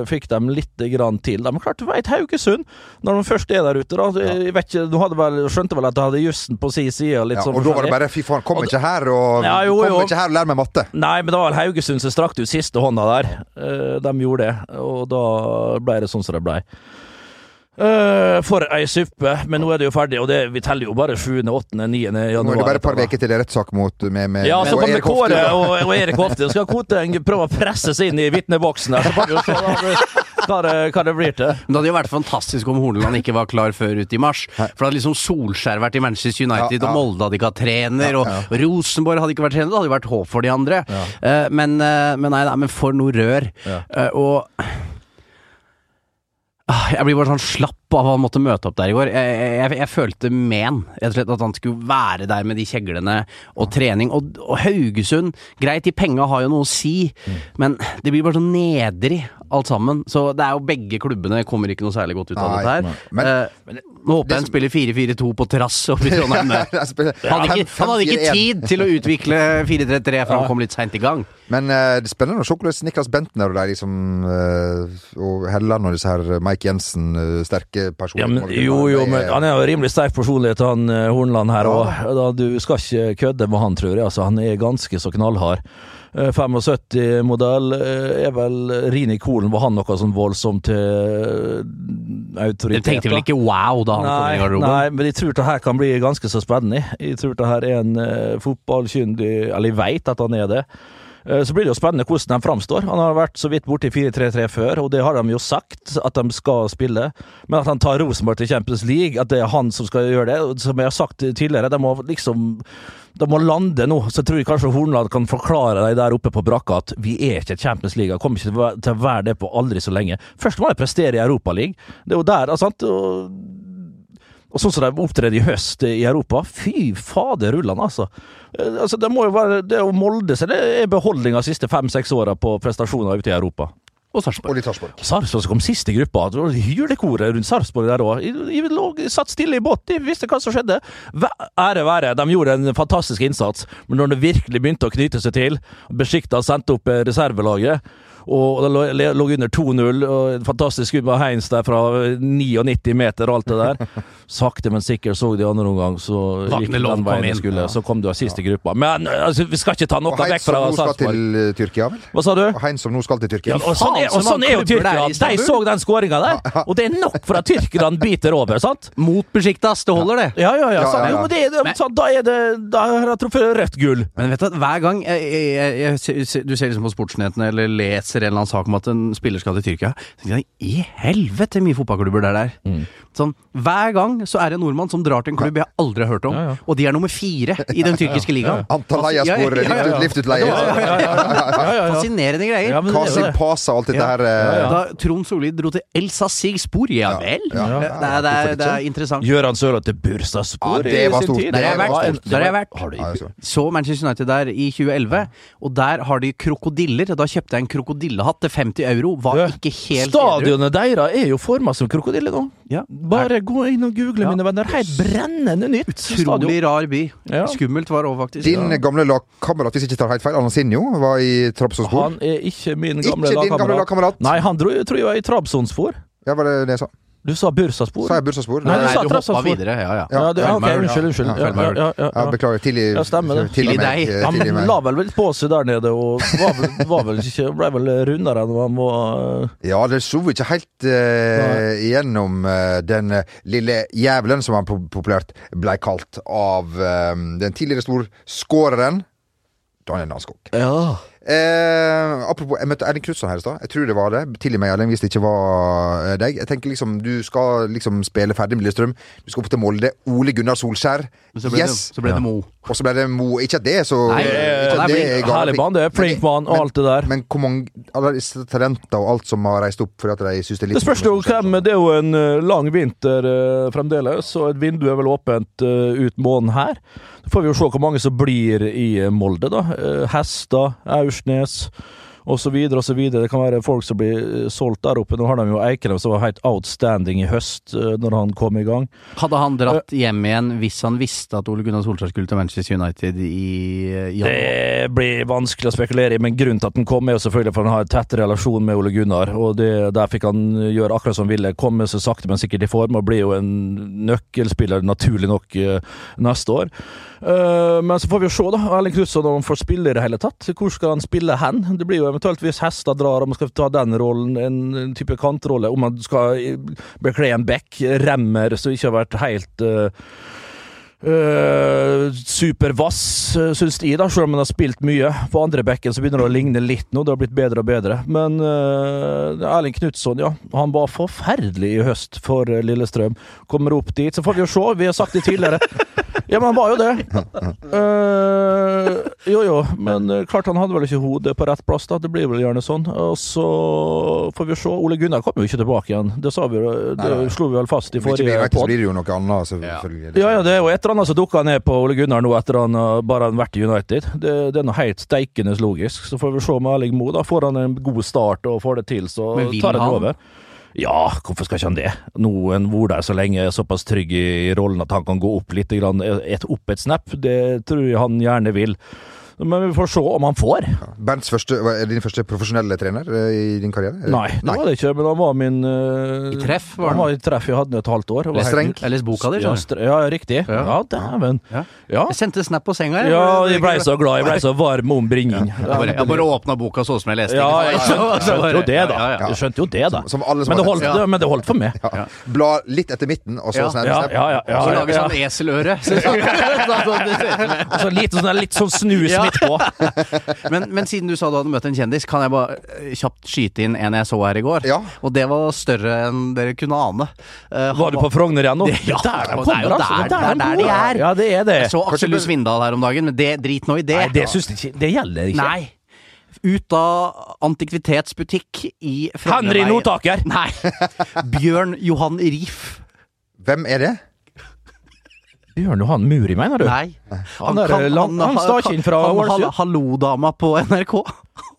[SPEAKER 1] eh, fikk de litt grann til. De klarte å veit Haugesund, når de først er der ute, da. Jeg vet ikke, du hadde vel, skjønte vel at de hadde jussen på si side? og Litt
[SPEAKER 2] ja,
[SPEAKER 1] sånn
[SPEAKER 2] Og da var det
[SPEAKER 1] forskjellig.
[SPEAKER 2] bare 'fy faen, kom ikke her og
[SPEAKER 1] Ja, jo,
[SPEAKER 2] kom
[SPEAKER 1] jo.
[SPEAKER 2] ikke her og lær meg matte'.
[SPEAKER 1] Nei, men det var vel Haugesund som strakte ut siste hånda der. Eh, de gjorde det, og da ble det sånn som det ble. Eh, for ei suppe, men nå er det jo ferdig, og det, vi teller jo bare 7., 8., 9.
[SPEAKER 2] Nå
[SPEAKER 1] januar.
[SPEAKER 2] er det bare et par
[SPEAKER 1] etterpå.
[SPEAKER 2] uker til det er rettssak mot eh, med, med,
[SPEAKER 1] Ja, altså, så
[SPEAKER 2] med- og
[SPEAKER 1] kommer
[SPEAKER 2] Erik Hofte,
[SPEAKER 1] Kåre
[SPEAKER 2] da.
[SPEAKER 1] og, og Erik Hofte. Skal Koteng prøve å presse seg inn i vitneboksen her, så får vi jo se da, hva det, hva det blir til.
[SPEAKER 3] Men det hadde jo vært fantastisk om Horneland ikke var klar før ut i mars. For da hadde liksom Solskjær vært i Manchester United,
[SPEAKER 2] Ja, ja.
[SPEAKER 3] og Molde hadde ikke hatt trener,
[SPEAKER 2] Ja, ja.
[SPEAKER 3] og Rosenborg hadde ikke vært trener. Det hadde jo vært håp for de andre. Eh, men, eh, men nei, nei, men for noe rør. Eh, og Ah, Jeg blir bare sånn slapp av at han måtte møte opp der i går. Jeg, jeg, jeg følte men, rett og slett, at han skulle være der med de kjeglene og trening. Og, og Haugesund, greit, de penga har jo noe å si, men det blir bare så nedrig alt sammen. Så det er jo begge klubbene kommer ikke noe særlig godt ut av
[SPEAKER 2] Nei,
[SPEAKER 3] dette her.
[SPEAKER 2] nei. Men-
[SPEAKER 3] Eh, nå håper jeg han spiller 4-4-2 på terrass oppe i Trondheim.
[SPEAKER 2] Nei,
[SPEAKER 3] der.
[SPEAKER 2] jeg spiller-
[SPEAKER 3] Han hadde ikke, han hadde ikke
[SPEAKER 2] 5-4-1.
[SPEAKER 3] tid til å utvikle 4-3-3, for han kom litt seint i gang.
[SPEAKER 2] Men eh, det er spennende å se hvordan Niklas Bentner og de liksom eh, Og Helland og disse her Mike Jensen, eh, sterke personer
[SPEAKER 1] Ja, men,
[SPEAKER 2] må det kunne
[SPEAKER 1] jo,
[SPEAKER 2] være.
[SPEAKER 1] jo,
[SPEAKER 2] Det
[SPEAKER 1] men han er jo en rimelig sterk personlighet, han eh, Hornland her òg. Du skal ikke kødde med han, tror jeg. Altså, han er ganske så knallhard. Eh, 75-modell eh, er vel Rini Kolen, var han noe sånn voldsomt til eh,
[SPEAKER 3] Du
[SPEAKER 1] autoritet?
[SPEAKER 3] tenkte vel
[SPEAKER 1] da?
[SPEAKER 3] ikke wow da han kom i
[SPEAKER 1] Nei,
[SPEAKER 3] garderoben?
[SPEAKER 1] nei, men jeg tror det her kan bli ganske så spennende. Jeg tror det her er en eh, fotballkyndig Eller jeg veit at han er det. Eh, Så blir det jo spennende hvordan de framstår. Han har vært så vidt borti 4-3-3 før, og det har de jo sagt at de skal spille. Men at han tar Rosenborg til Champions League, at det er han som skal gjøre det, og som jeg har sagt tidligere, de må liksom de må lande nå, så tror jeg kanskje Hornland kan forklare deg der oppe på brakka at vi er ikke et Champions League, og kommer ikke til å være- til å være det på aldri så lenge. Først må de prestere i Europaligaen. Det er jo der, altså, sant? Og og sånn som de opptredde i høst i Europa, fy fader rullende, altså. Eh, altså det må jo være Det å molde seg, det er beholdning av de siste fem-seks åra på prestasjoner ute i Europa.
[SPEAKER 3] Og Sarpsborg.
[SPEAKER 2] Og litt Sarpsborg.
[SPEAKER 1] Sarpsborg som kom sist i gruppa. Det var Hylekoret rundt Sarpsborg der òg. De lå- de satt stille i båt, de visste hva som skjedde. Væ- Ære være, de gjorde en fantastisk innsats, men når det virkelig begynte å knyte seg til, Besjikta sendte opp eh, reservelaget, og det lå- le- lå under 2-0, og et fantastisk skudd med Heins der fra eh, 99 meter og alt det der. Sakte, men sikkert så de andre omgang, så
[SPEAKER 3] Vakne
[SPEAKER 1] gikk det
[SPEAKER 3] Lom
[SPEAKER 1] den
[SPEAKER 3] kom
[SPEAKER 1] veien de
[SPEAKER 3] inn.
[SPEAKER 1] skulle. Så kom du sist i gruppa. Men eh, altså, vi skal ikke ta noe
[SPEAKER 2] Og Hein
[SPEAKER 1] vekk
[SPEAKER 2] som
[SPEAKER 1] fra
[SPEAKER 2] nå skal
[SPEAKER 1] Sarpsborg.
[SPEAKER 2] til eh, Tyrkia, vel?
[SPEAKER 1] Hva sa du?
[SPEAKER 2] Og Hein som nå skal til Tyrkia.
[SPEAKER 1] Ja, og sånn er, og sånn er jo Tyrkia. De så den skåringa der, og det er nok for at tyrkerne biter over, sant?
[SPEAKER 3] Mot Besjiktas, det holder det.
[SPEAKER 1] Ja, ja, ja.
[SPEAKER 2] Ja,
[SPEAKER 1] sant?
[SPEAKER 2] ja, ja.
[SPEAKER 1] Jo, men det, er- det, sant, da er det Da har jeg truffet rødt gull.
[SPEAKER 3] Men vet du, at hver gang jeg, jeg, jeg, jeg, ser- du ser liksom på sportsnyhetene eller leser en eller annen sak om at en spiller skal til Tyrkia, så tenker jeg i helvete mye fotballklubber det er der. Sånn, hver gang så er det en nordmann som drar til en klubb jeg aldri har hørt om, og de er nummer fire i den tyrkiske ligaen. Altså,
[SPEAKER 2] Antalya spor,
[SPEAKER 3] Ja, ja, ja, ja.
[SPEAKER 2] liftutleie.
[SPEAKER 3] Fascinerende greier.
[SPEAKER 1] Ja, men det er jo
[SPEAKER 2] Kasim
[SPEAKER 1] det.
[SPEAKER 2] Pasa og alt dette
[SPEAKER 3] Ja.
[SPEAKER 2] her. eh,
[SPEAKER 3] Da Trond Solli dro til El Sazigspor, ja
[SPEAKER 2] ja,
[SPEAKER 3] vel? Det, er, det,
[SPEAKER 2] hvorfor
[SPEAKER 3] er,
[SPEAKER 2] ikke?
[SPEAKER 3] det er interessant.
[SPEAKER 1] Gjøran Sørloth til Bursaspor
[SPEAKER 2] Ja, det var stort.
[SPEAKER 3] Der har jeg
[SPEAKER 2] Det var
[SPEAKER 3] vært.
[SPEAKER 2] stort.
[SPEAKER 3] Der har jeg vært.
[SPEAKER 1] Har du-
[SPEAKER 2] Ja, det er så.
[SPEAKER 3] Så Manchester United der i 2011, og der har de krokodiller. Da kjøpte jeg en krokodillehatt til 50 euro. Var ikke helt edru.
[SPEAKER 1] Stadionet deres er jo forma som krokodiller nå.
[SPEAKER 3] Ja.
[SPEAKER 1] Bare gå inn og google, mine venner. Helt brennende nytt
[SPEAKER 3] Utrolig
[SPEAKER 1] stadion.
[SPEAKER 3] rar by.
[SPEAKER 1] Ja.
[SPEAKER 3] Skummelt var det òg, faktisk.
[SPEAKER 2] Din gamle lagkamerat, hvis jeg ikke tar helt feil, Anasinho, var i Trabzonspor.
[SPEAKER 1] Han er ikke min
[SPEAKER 2] Ikke
[SPEAKER 1] gamle
[SPEAKER 2] din gamle
[SPEAKER 1] lagkamerat.
[SPEAKER 2] lagkamerat.
[SPEAKER 1] Nei, han dro, tror jeg var i Trabzonspor.
[SPEAKER 2] Ja, var det det jeg sa?
[SPEAKER 1] Du sa Bursaspor.
[SPEAKER 2] Sa jeg bursdagsbord?
[SPEAKER 1] Nei,
[SPEAKER 3] Nei,
[SPEAKER 1] du
[SPEAKER 3] nei,
[SPEAKER 1] sa
[SPEAKER 3] du hoppa
[SPEAKER 1] Trabzonspor.
[SPEAKER 3] videre. Ja, ja.
[SPEAKER 1] Ja, du, ok, unnskyld, unnskyld. Ja,
[SPEAKER 2] Ja,
[SPEAKER 1] ja, ja, ja,
[SPEAKER 2] Ja, beklager. Tilgi
[SPEAKER 1] Ja, stemmer det.
[SPEAKER 2] Tilgi
[SPEAKER 3] Tilgi
[SPEAKER 2] meg.
[SPEAKER 3] deg.
[SPEAKER 2] eh,
[SPEAKER 1] Han
[SPEAKER 2] Tilgi meg.
[SPEAKER 1] la vel litt på seg der nede, og var vel, var vel ikke, ble vel rundere enn han var eh.
[SPEAKER 2] Ja, det slo ikke helt eh, igjennom eh, den eh, lille jævelen som han po- populært ble kalt av eh, den tidligere storskåreren Daniel Nanskog.
[SPEAKER 1] Ja.
[SPEAKER 2] Eh, apropos, jeg møtte Erling Knutson her i stad. Jeg tror det var det. Tilgi meg, Erling, hvis det ikke var eh, deg. Jeg tenker liksom, Du skal liksom spille ferdig med Lillestrøm. Du skal opp til Molde. Ole Gunnar Solskjær.
[SPEAKER 3] Men så ble,
[SPEAKER 2] yes!
[SPEAKER 3] det, så ble det Mo.
[SPEAKER 2] Og så ble det Mo. Ikke at det, så
[SPEAKER 3] Nei,
[SPEAKER 2] ikke at
[SPEAKER 3] nei,
[SPEAKER 2] det
[SPEAKER 3] men
[SPEAKER 2] er gale
[SPEAKER 1] Herlig
[SPEAKER 2] ting.
[SPEAKER 1] mann, det er flink mann og alt det der.
[SPEAKER 2] Men hvor mange alle disse talenter og alt som har reist opp fordi at de syns det er litt
[SPEAKER 1] Det spørs jo hvem Det er jo en eh, lang vinter eh, fremdeles, og et vindu er vel åpent eh, ut måneden her. Så får vi jo se hvor mange som blir i eh, Molde, da. Eh, Hestad, Aursnes osv. osv. Det kan være folk som blir eh, solgt der oppe. Nå har de jo Eikrem som var helt outstanding i høst, eh, når han kom i gang.
[SPEAKER 3] Hadde han dratt hjem igjen hvis han visste at Ole Gunnar Solskjær skulle til Manchester United i i januar?
[SPEAKER 1] Det blir vanskelig å spekulere i, men grunnen til at han kom, er jo selvfølgelig for han har en tett relasjon med Ole Gunnar. og det, Der fikk han gjøre akkurat som han ville, komme seg sakte, men sikkert i form, og blir jo en nøkkelspiller, naturlig nok, eh, neste år. Eh, men så får vi jo se, da. Erling Knutson, om han får spille i det hele tatt. Hvor skal han spille hen? Det blir jo eventuelt, hvis Hestad drar, om han skal ta den rollen, en en type kantrolle, om han skal eh, bekle en back, remmer, som ikke har vært helt eh, Eh, supervass, eh, syns de, da, selv om han har spilt mye. På andre bekken så begynner det å ligne litt nå, det har blitt bedre og bedre. Men eh, Erling Knutson, ja. Han var forferdelig i høst for eh, Lillestrøm. Kommer opp dit, så får vi jo se. Vi har sagt det tidligere. Ja, men han var jo det. Eh, jo, jo. Men eh, klart han hadde vel ikke hodet på rett plass, da. Det blir vel gjerne sånn. Og så får vi se. Ole Gunnar kommer jo ikke tilbake igjen. Det sa vi jo, det
[SPEAKER 2] Nei, nei.
[SPEAKER 1] slo vi vel fast i
[SPEAKER 2] Hvis ikke
[SPEAKER 1] forrige
[SPEAKER 2] blir United, så
[SPEAKER 1] podd.
[SPEAKER 2] blir det jo noe annet, altså, selvfølgelig.
[SPEAKER 1] Ja, ja, det er jo et eller annet som dukker ned på Ole Gunnar nå etter han har bare har vært i United. Det, det er noe helt steikende logisk. Så får vi se om Erling Moe da får han en god start og får det til, så
[SPEAKER 3] Men vil
[SPEAKER 1] tar han,
[SPEAKER 3] han?
[SPEAKER 1] over. Ja, hvorfor skal ikke han det? Noen hvor der så lenge er såpass trygg i i rollen at han kan gå opp litt, grann, et, opp et snap. Det tror jeg han gjerne vil. Men vi får se om han får.
[SPEAKER 2] Bernts første, hva, er din første profesjonelle trener eh, i din karriere? Eh,
[SPEAKER 1] Nei, det var det ikke, men han var min eh,
[SPEAKER 3] I treff, var
[SPEAKER 1] Han
[SPEAKER 3] han?
[SPEAKER 1] var i treff jeg hadde i et halvt år.
[SPEAKER 3] Les-
[SPEAKER 2] streng.
[SPEAKER 3] Jeg leste boka di,
[SPEAKER 1] Ja,
[SPEAKER 3] skjønner du.
[SPEAKER 1] stre- ja, riktig. Ja,
[SPEAKER 3] Ja.
[SPEAKER 1] dæven.
[SPEAKER 3] Ja.
[SPEAKER 1] Ja.
[SPEAKER 3] Jeg sendte snap på senga, jeg.
[SPEAKER 1] Ja, jeg blei så glad. Jeg blei så varm om bringing.
[SPEAKER 3] Jeg bare, jeg bare åpna boka sånn som jeg leste.
[SPEAKER 1] Ja,
[SPEAKER 3] ikke
[SPEAKER 1] jeg
[SPEAKER 3] sant?
[SPEAKER 1] skjønte,
[SPEAKER 3] Så bare-
[SPEAKER 1] skjønte jo det, da.
[SPEAKER 3] Ja, ja, ja.
[SPEAKER 1] Jeg skjønte jo det, da.
[SPEAKER 2] Som- som alle som
[SPEAKER 1] men, det
[SPEAKER 2] har
[SPEAKER 1] holdt,
[SPEAKER 3] sett. Ja.
[SPEAKER 1] men det holdt for meg.
[SPEAKER 2] Ja. Bla litt etter midten, og så
[SPEAKER 3] Ja.
[SPEAKER 2] snap,
[SPEAKER 1] Ja,
[SPEAKER 2] snap.
[SPEAKER 1] ja, ja. ja,
[SPEAKER 3] Så
[SPEAKER 1] ja,
[SPEAKER 3] lager sånn
[SPEAKER 1] ja.
[SPEAKER 3] eseløre. Så- så-
[SPEAKER 1] Og så litt, sånn, litt sånn snus
[SPEAKER 3] Ja.
[SPEAKER 1] midt på.
[SPEAKER 3] Men, men siden du sa du hadde møtt en kjendis, kan jeg bare eh, kjapt skyte inn en jeg så her i går?
[SPEAKER 2] Ja.
[SPEAKER 3] Og det var større enn dere kunne ane. Eh, han
[SPEAKER 1] Var du på Frogner igjen nå?
[SPEAKER 3] Det- ja,
[SPEAKER 1] der de
[SPEAKER 3] og det er jo
[SPEAKER 1] kommer, altså.
[SPEAKER 3] der- det er der
[SPEAKER 1] går.
[SPEAKER 3] de er.
[SPEAKER 1] Ja, det er det.
[SPEAKER 3] Jeg så Aksel
[SPEAKER 2] Kanskje-
[SPEAKER 3] Lund Svindal her om dagen, men det drit nå i det.
[SPEAKER 1] Nei, det syns jeg ikke Det gjelder ikke.
[SPEAKER 3] Nei. Ut av antikvitetsbutikk i Frognerveien.
[SPEAKER 1] Henry Notaker!
[SPEAKER 3] Nei. Bjørn Johan Riff.
[SPEAKER 2] Hvem er det?
[SPEAKER 1] Bjørn Johan Muri, mener du?
[SPEAKER 3] Nei.
[SPEAKER 1] Han er land- han stakkaren fra
[SPEAKER 3] han-
[SPEAKER 1] Ålesund.
[SPEAKER 3] han- Hallo-dama på NRK.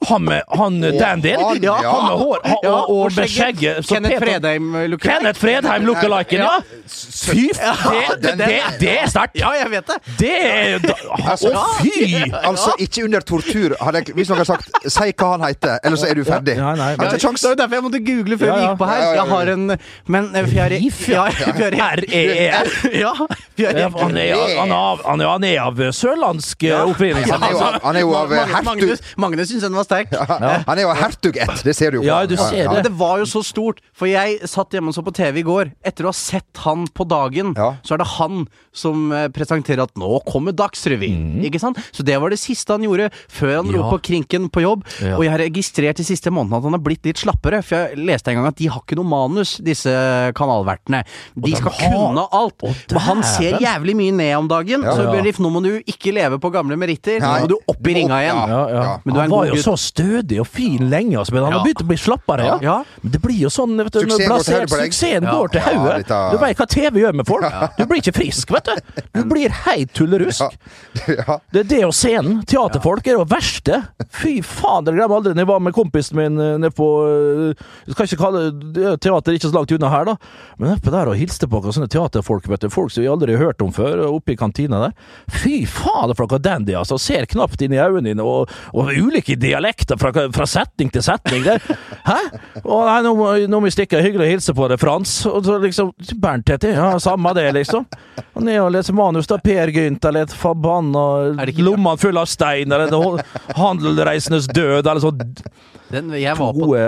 [SPEAKER 1] Han med han eh, dandyen?
[SPEAKER 2] han,
[SPEAKER 1] Ja,
[SPEAKER 2] ja.
[SPEAKER 1] han med hår ha,
[SPEAKER 3] Ja,
[SPEAKER 1] og, og med
[SPEAKER 3] skjegget.
[SPEAKER 1] skjegget? som
[SPEAKER 3] Kenneth
[SPEAKER 1] Peter-
[SPEAKER 3] Fredheim looker.
[SPEAKER 1] Kenneth Fredheim lookaliken, ja! Fy f... Det, det, det er sterkt!
[SPEAKER 3] Ja, jeg vet det.
[SPEAKER 1] Det er Å,
[SPEAKER 2] Altså-
[SPEAKER 1] fy!
[SPEAKER 2] Altså, ikke under tortur. Hadde jeg, hvis noen har sagt 'si hva han heter', eller så er du ferdig.
[SPEAKER 1] Ja, nei,
[SPEAKER 2] Har ikke
[SPEAKER 3] Det
[SPEAKER 2] kjangs.
[SPEAKER 3] var derfor jeg måtte google før
[SPEAKER 1] Ja,
[SPEAKER 3] vi
[SPEAKER 1] ja.
[SPEAKER 3] gikk på her.
[SPEAKER 2] Ja, ja, ja,
[SPEAKER 3] Jeg har
[SPEAKER 2] ja.
[SPEAKER 3] en Men eh, Fjari
[SPEAKER 1] Riff, ja. R-E-E-R.
[SPEAKER 3] Ja. Fjari
[SPEAKER 1] Ja, for han, er, han, er av, han, er, han er av sørlandsk eh, opprinnelse.
[SPEAKER 2] Han er jo av, han er jo av eh,
[SPEAKER 3] Magnus, Altså, Magnus,
[SPEAKER 2] hertug...
[SPEAKER 3] Magnus syns den var sterk.
[SPEAKER 2] Ja, Han er jo av hertug ett, det ser du jo. på
[SPEAKER 1] Ja,
[SPEAKER 2] han.
[SPEAKER 1] du ser
[SPEAKER 2] ja.
[SPEAKER 3] Men det var jo så stort, for jeg satt hjemme og så på TV i går. Etter å ha sett han på dagen,
[SPEAKER 2] Ja.
[SPEAKER 3] så er det han som eh, presenterer at 'nå kommer Dagsrevyen'. Ikke sant? Så det var det siste han gjorde før han dro
[SPEAKER 1] Mhm. Ja.
[SPEAKER 3] på krinken på jobb.
[SPEAKER 1] Ja.
[SPEAKER 3] Og jeg har registrert de siste månedene at han har blitt litt slappere. For jeg leste en gang at de har ikke noe manus, disse kanalvertene. De skal
[SPEAKER 1] har-
[SPEAKER 3] kunne alt. Men han ser
[SPEAKER 1] dæven.
[SPEAKER 3] jævlig mye ned om dagen. Så
[SPEAKER 1] Ja.
[SPEAKER 3] Bjørn Rif, nå må du ikke leve på gamle meritter.
[SPEAKER 2] Nei.
[SPEAKER 3] Nå må du opp i ringa
[SPEAKER 1] Ja,
[SPEAKER 3] igjen.
[SPEAKER 1] ja.
[SPEAKER 2] Ja.
[SPEAKER 3] Men du er
[SPEAKER 1] han
[SPEAKER 3] en
[SPEAKER 1] var
[SPEAKER 3] god
[SPEAKER 1] jo
[SPEAKER 3] gutt.
[SPEAKER 1] så stødig og fin lenge, altså, men han har
[SPEAKER 3] Ja.
[SPEAKER 1] begynt å bli slappere. Ja.
[SPEAKER 3] Ja.
[SPEAKER 1] Men det blir jo sånn vet du, når
[SPEAKER 2] Suksessen går til
[SPEAKER 1] plassert-
[SPEAKER 2] hodet på deg.
[SPEAKER 1] Suksessen
[SPEAKER 3] Ja.
[SPEAKER 1] går til
[SPEAKER 2] Ja,
[SPEAKER 1] hodet.
[SPEAKER 2] litt av-
[SPEAKER 1] Du vet hva TV gjør med folk. Du blir ikke frisk, vet du. Du blir heit tullerusk.
[SPEAKER 2] Ja. Ja.
[SPEAKER 1] Det er det og scenen. Teaterfolk er det verste. Fy faen, jeg glemmer aldri når jeg var med kompisen min eh, nede på eh, Jeg skal ikke kalle det- det er teater ikke så langt unna her, da. Men oppe der og hilste på noen sånne teaterfolk, vet du. Folk som jeg aldri har hørt om før, oppe i kantina der. Fy faen, for noe dandy, altså. Ser knapt inn i øynene dine, og, og ulike dialekter fra, fra setning til setning. Der. Hæ? Å nei, nå må, nå må vi stikke. Hyggelig å hilse på deg, Frans. Og så liksom Bernt heter jeg. Ja, samme det, liksom. Og ned og lese manus, da. Per Gynt eller et forbanna
[SPEAKER 3] Er det ikke-
[SPEAKER 1] Lommene full av stein, eller det- Handelreisendes død, eller sånn
[SPEAKER 3] Den, jeg, var på,
[SPEAKER 1] Gode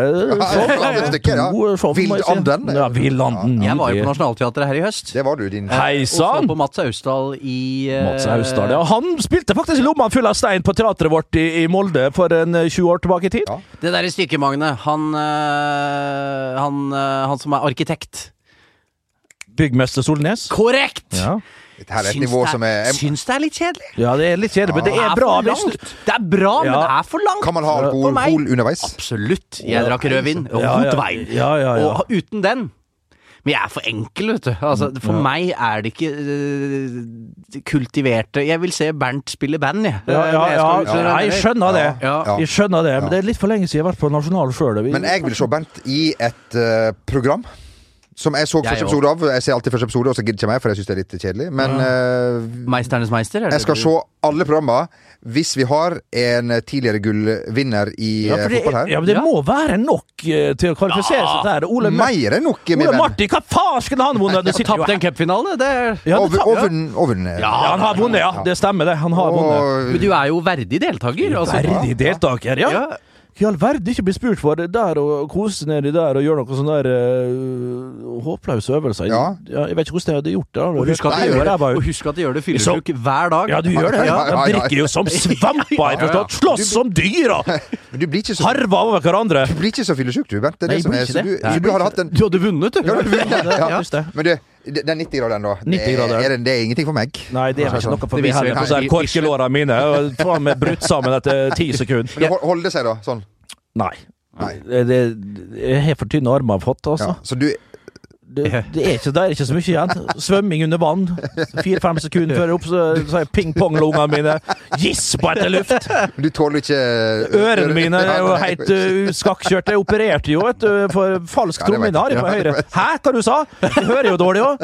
[SPEAKER 2] andre stykker, ja.
[SPEAKER 1] Gode show, må jeg si.
[SPEAKER 2] Vildanden.
[SPEAKER 1] Ja, Vildanden.
[SPEAKER 3] jeg var jo på Nationaltheatret her i høst.
[SPEAKER 2] Det var du, din
[SPEAKER 1] Hei
[SPEAKER 3] Og så
[SPEAKER 1] sann!
[SPEAKER 3] på Mats Austdal i eh,
[SPEAKER 1] Mats Austdal. Ja, han spilte faktisk Lomma full av stein på teatret vårt i, i Molde for en eh, 20 år tilbake i tid.
[SPEAKER 2] Ja.
[SPEAKER 3] Det derre stykket, Magne. Han, eh, han, eh, han som er arkitekt.
[SPEAKER 1] Byggmester Solnes.
[SPEAKER 3] Korrekt!
[SPEAKER 1] Ja.
[SPEAKER 2] Dette her er et
[SPEAKER 3] Syns
[SPEAKER 2] nivå
[SPEAKER 3] det er-
[SPEAKER 2] som er em-
[SPEAKER 3] Syns det er litt kjedelig.
[SPEAKER 1] ja, det er litt kjedelig, men det er bra.
[SPEAKER 3] for
[SPEAKER 1] hvis-
[SPEAKER 3] langt. Det er bra, men
[SPEAKER 1] Ja.
[SPEAKER 3] det er for langt.
[SPEAKER 2] Kan man ha
[SPEAKER 3] For meg.
[SPEAKER 2] alkohol underveis?
[SPEAKER 3] Absolutt. Jeg drakk rødvin
[SPEAKER 1] Ja,
[SPEAKER 3] og
[SPEAKER 1] ja.
[SPEAKER 3] rotwein.
[SPEAKER 1] Ja, ja, ja.
[SPEAKER 3] Og uten den Men jeg er for enkel, vet du. Altså,
[SPEAKER 1] Mm,
[SPEAKER 3] for meg er det ikke eh, kultiverte Jeg vil se Bernt spille band, jeg. Eh,
[SPEAKER 1] Ja, ja,
[SPEAKER 3] Jeg
[SPEAKER 1] ja,
[SPEAKER 3] skal ut og
[SPEAKER 1] ja, jeg
[SPEAKER 3] reise.
[SPEAKER 1] skjønner det.
[SPEAKER 3] Ja.
[SPEAKER 1] Jeg skjønner det, Men det er litt for lenge siden jeg har vært på Nasjonal sjøl.
[SPEAKER 2] Men jeg vil se Bernt i et eh, program. Som jeg så
[SPEAKER 3] Jeg
[SPEAKER 2] første episode av. Jeg ser alltid første episode, og så gidder jeg ikke mer, for jeg syns det er litt kjedelig. Men eh,
[SPEAKER 3] Meisternes meister? Er det
[SPEAKER 2] jeg skal
[SPEAKER 3] det
[SPEAKER 2] se alle programmene hvis vi har en tidligere gullvinner i
[SPEAKER 1] ja,
[SPEAKER 2] eh,
[SPEAKER 1] for det,
[SPEAKER 2] fotball her.
[SPEAKER 1] ja, men det må være nok eh, til å kvalifisere seg til det. Ole, Mer-
[SPEAKER 2] Mer enn nok, min
[SPEAKER 1] Ole
[SPEAKER 2] venn.
[SPEAKER 1] Martin, hva faen skulle han vunnet? Det
[SPEAKER 3] du
[SPEAKER 1] sitter jo
[SPEAKER 3] Tapte en cupfinale? Det er
[SPEAKER 1] Ja,
[SPEAKER 2] Og
[SPEAKER 1] det
[SPEAKER 2] vun-
[SPEAKER 1] tapp-
[SPEAKER 2] og
[SPEAKER 1] ja.
[SPEAKER 2] vunnet. og vunnet.
[SPEAKER 1] ja, han har vunnet, ja. Det stemmer, det. Han har vunnet.
[SPEAKER 2] Og-
[SPEAKER 3] Men du er jo verdig deltaker. Altså.
[SPEAKER 1] Verdig deltaker, ja.
[SPEAKER 3] Ja.
[SPEAKER 1] I all verden ikke bli spurt for det der og kose seg nedi der og gjøre noen sånne der eh, håpløse øvelser.
[SPEAKER 2] Ja.
[SPEAKER 1] jeg vet ikke hvordan jeg hadde gjort det.
[SPEAKER 3] Og husk at
[SPEAKER 2] Nei,
[SPEAKER 3] du gjør
[SPEAKER 1] det
[SPEAKER 3] det,
[SPEAKER 1] er bare-
[SPEAKER 3] og husk at du gjør det fyllesluk hver dag.
[SPEAKER 1] Ja, du gjør det.
[SPEAKER 2] Ja,
[SPEAKER 1] Ja.
[SPEAKER 2] ja, ja,
[SPEAKER 1] De
[SPEAKER 2] ja.
[SPEAKER 1] drikker jo som svamper. Jeg
[SPEAKER 2] Ja, ja.
[SPEAKER 1] forstår. Slåss som dyr og
[SPEAKER 2] Men du blir ikke så,
[SPEAKER 1] harver over hverandre.
[SPEAKER 2] du blir ikke så fyllesjuk, du, Bernt. Det er
[SPEAKER 1] Nei,
[SPEAKER 2] det
[SPEAKER 1] jeg
[SPEAKER 2] som
[SPEAKER 1] blir ikke
[SPEAKER 2] er. Så
[SPEAKER 1] det. Nei.
[SPEAKER 2] du, så du hadde hatt en
[SPEAKER 3] Du hadde vunnet, du.
[SPEAKER 2] Ja, du vunnet.
[SPEAKER 1] Ja,
[SPEAKER 2] Ja.
[SPEAKER 1] just det.
[SPEAKER 2] Men du, det- den 90-graderen, da.
[SPEAKER 1] 90-graderen.
[SPEAKER 2] Er, er det, det er ingenting for meg.
[SPEAKER 1] Nei, det er ikke noe for
[SPEAKER 3] Det
[SPEAKER 1] meg
[SPEAKER 3] viser
[SPEAKER 1] heller.
[SPEAKER 3] vi-
[SPEAKER 1] på sånn her Korkelåra mine og faen meg brutt sammen etter ti sekunder.
[SPEAKER 2] Men hol- holder det seg, da? Sånn.
[SPEAKER 1] Nei.
[SPEAKER 2] Nei.
[SPEAKER 1] Det, det- jeg har for tynne armer jeg har fått, altså.
[SPEAKER 2] Ja. Så du
[SPEAKER 1] Det, det, er ikke, det er ikke så mye igjen. Svømming under vann. Fire-fem sekunder før jeg er opp, så så har jeg pingponglungene mine gispa etter luft.
[SPEAKER 2] Men du tåler ikke eh,
[SPEAKER 1] Ørene mine er jo
[SPEAKER 2] Nei, nei,
[SPEAKER 1] helt uh, skakkjørte. Jeg opererte jo et uh, for falsk
[SPEAKER 2] Ja, det vet
[SPEAKER 1] trommehinne har jeg på
[SPEAKER 2] jeg. Ja,
[SPEAKER 1] høyre.
[SPEAKER 2] det
[SPEAKER 1] Hæ, hva du sa? Jeg hører jo dårlig òg.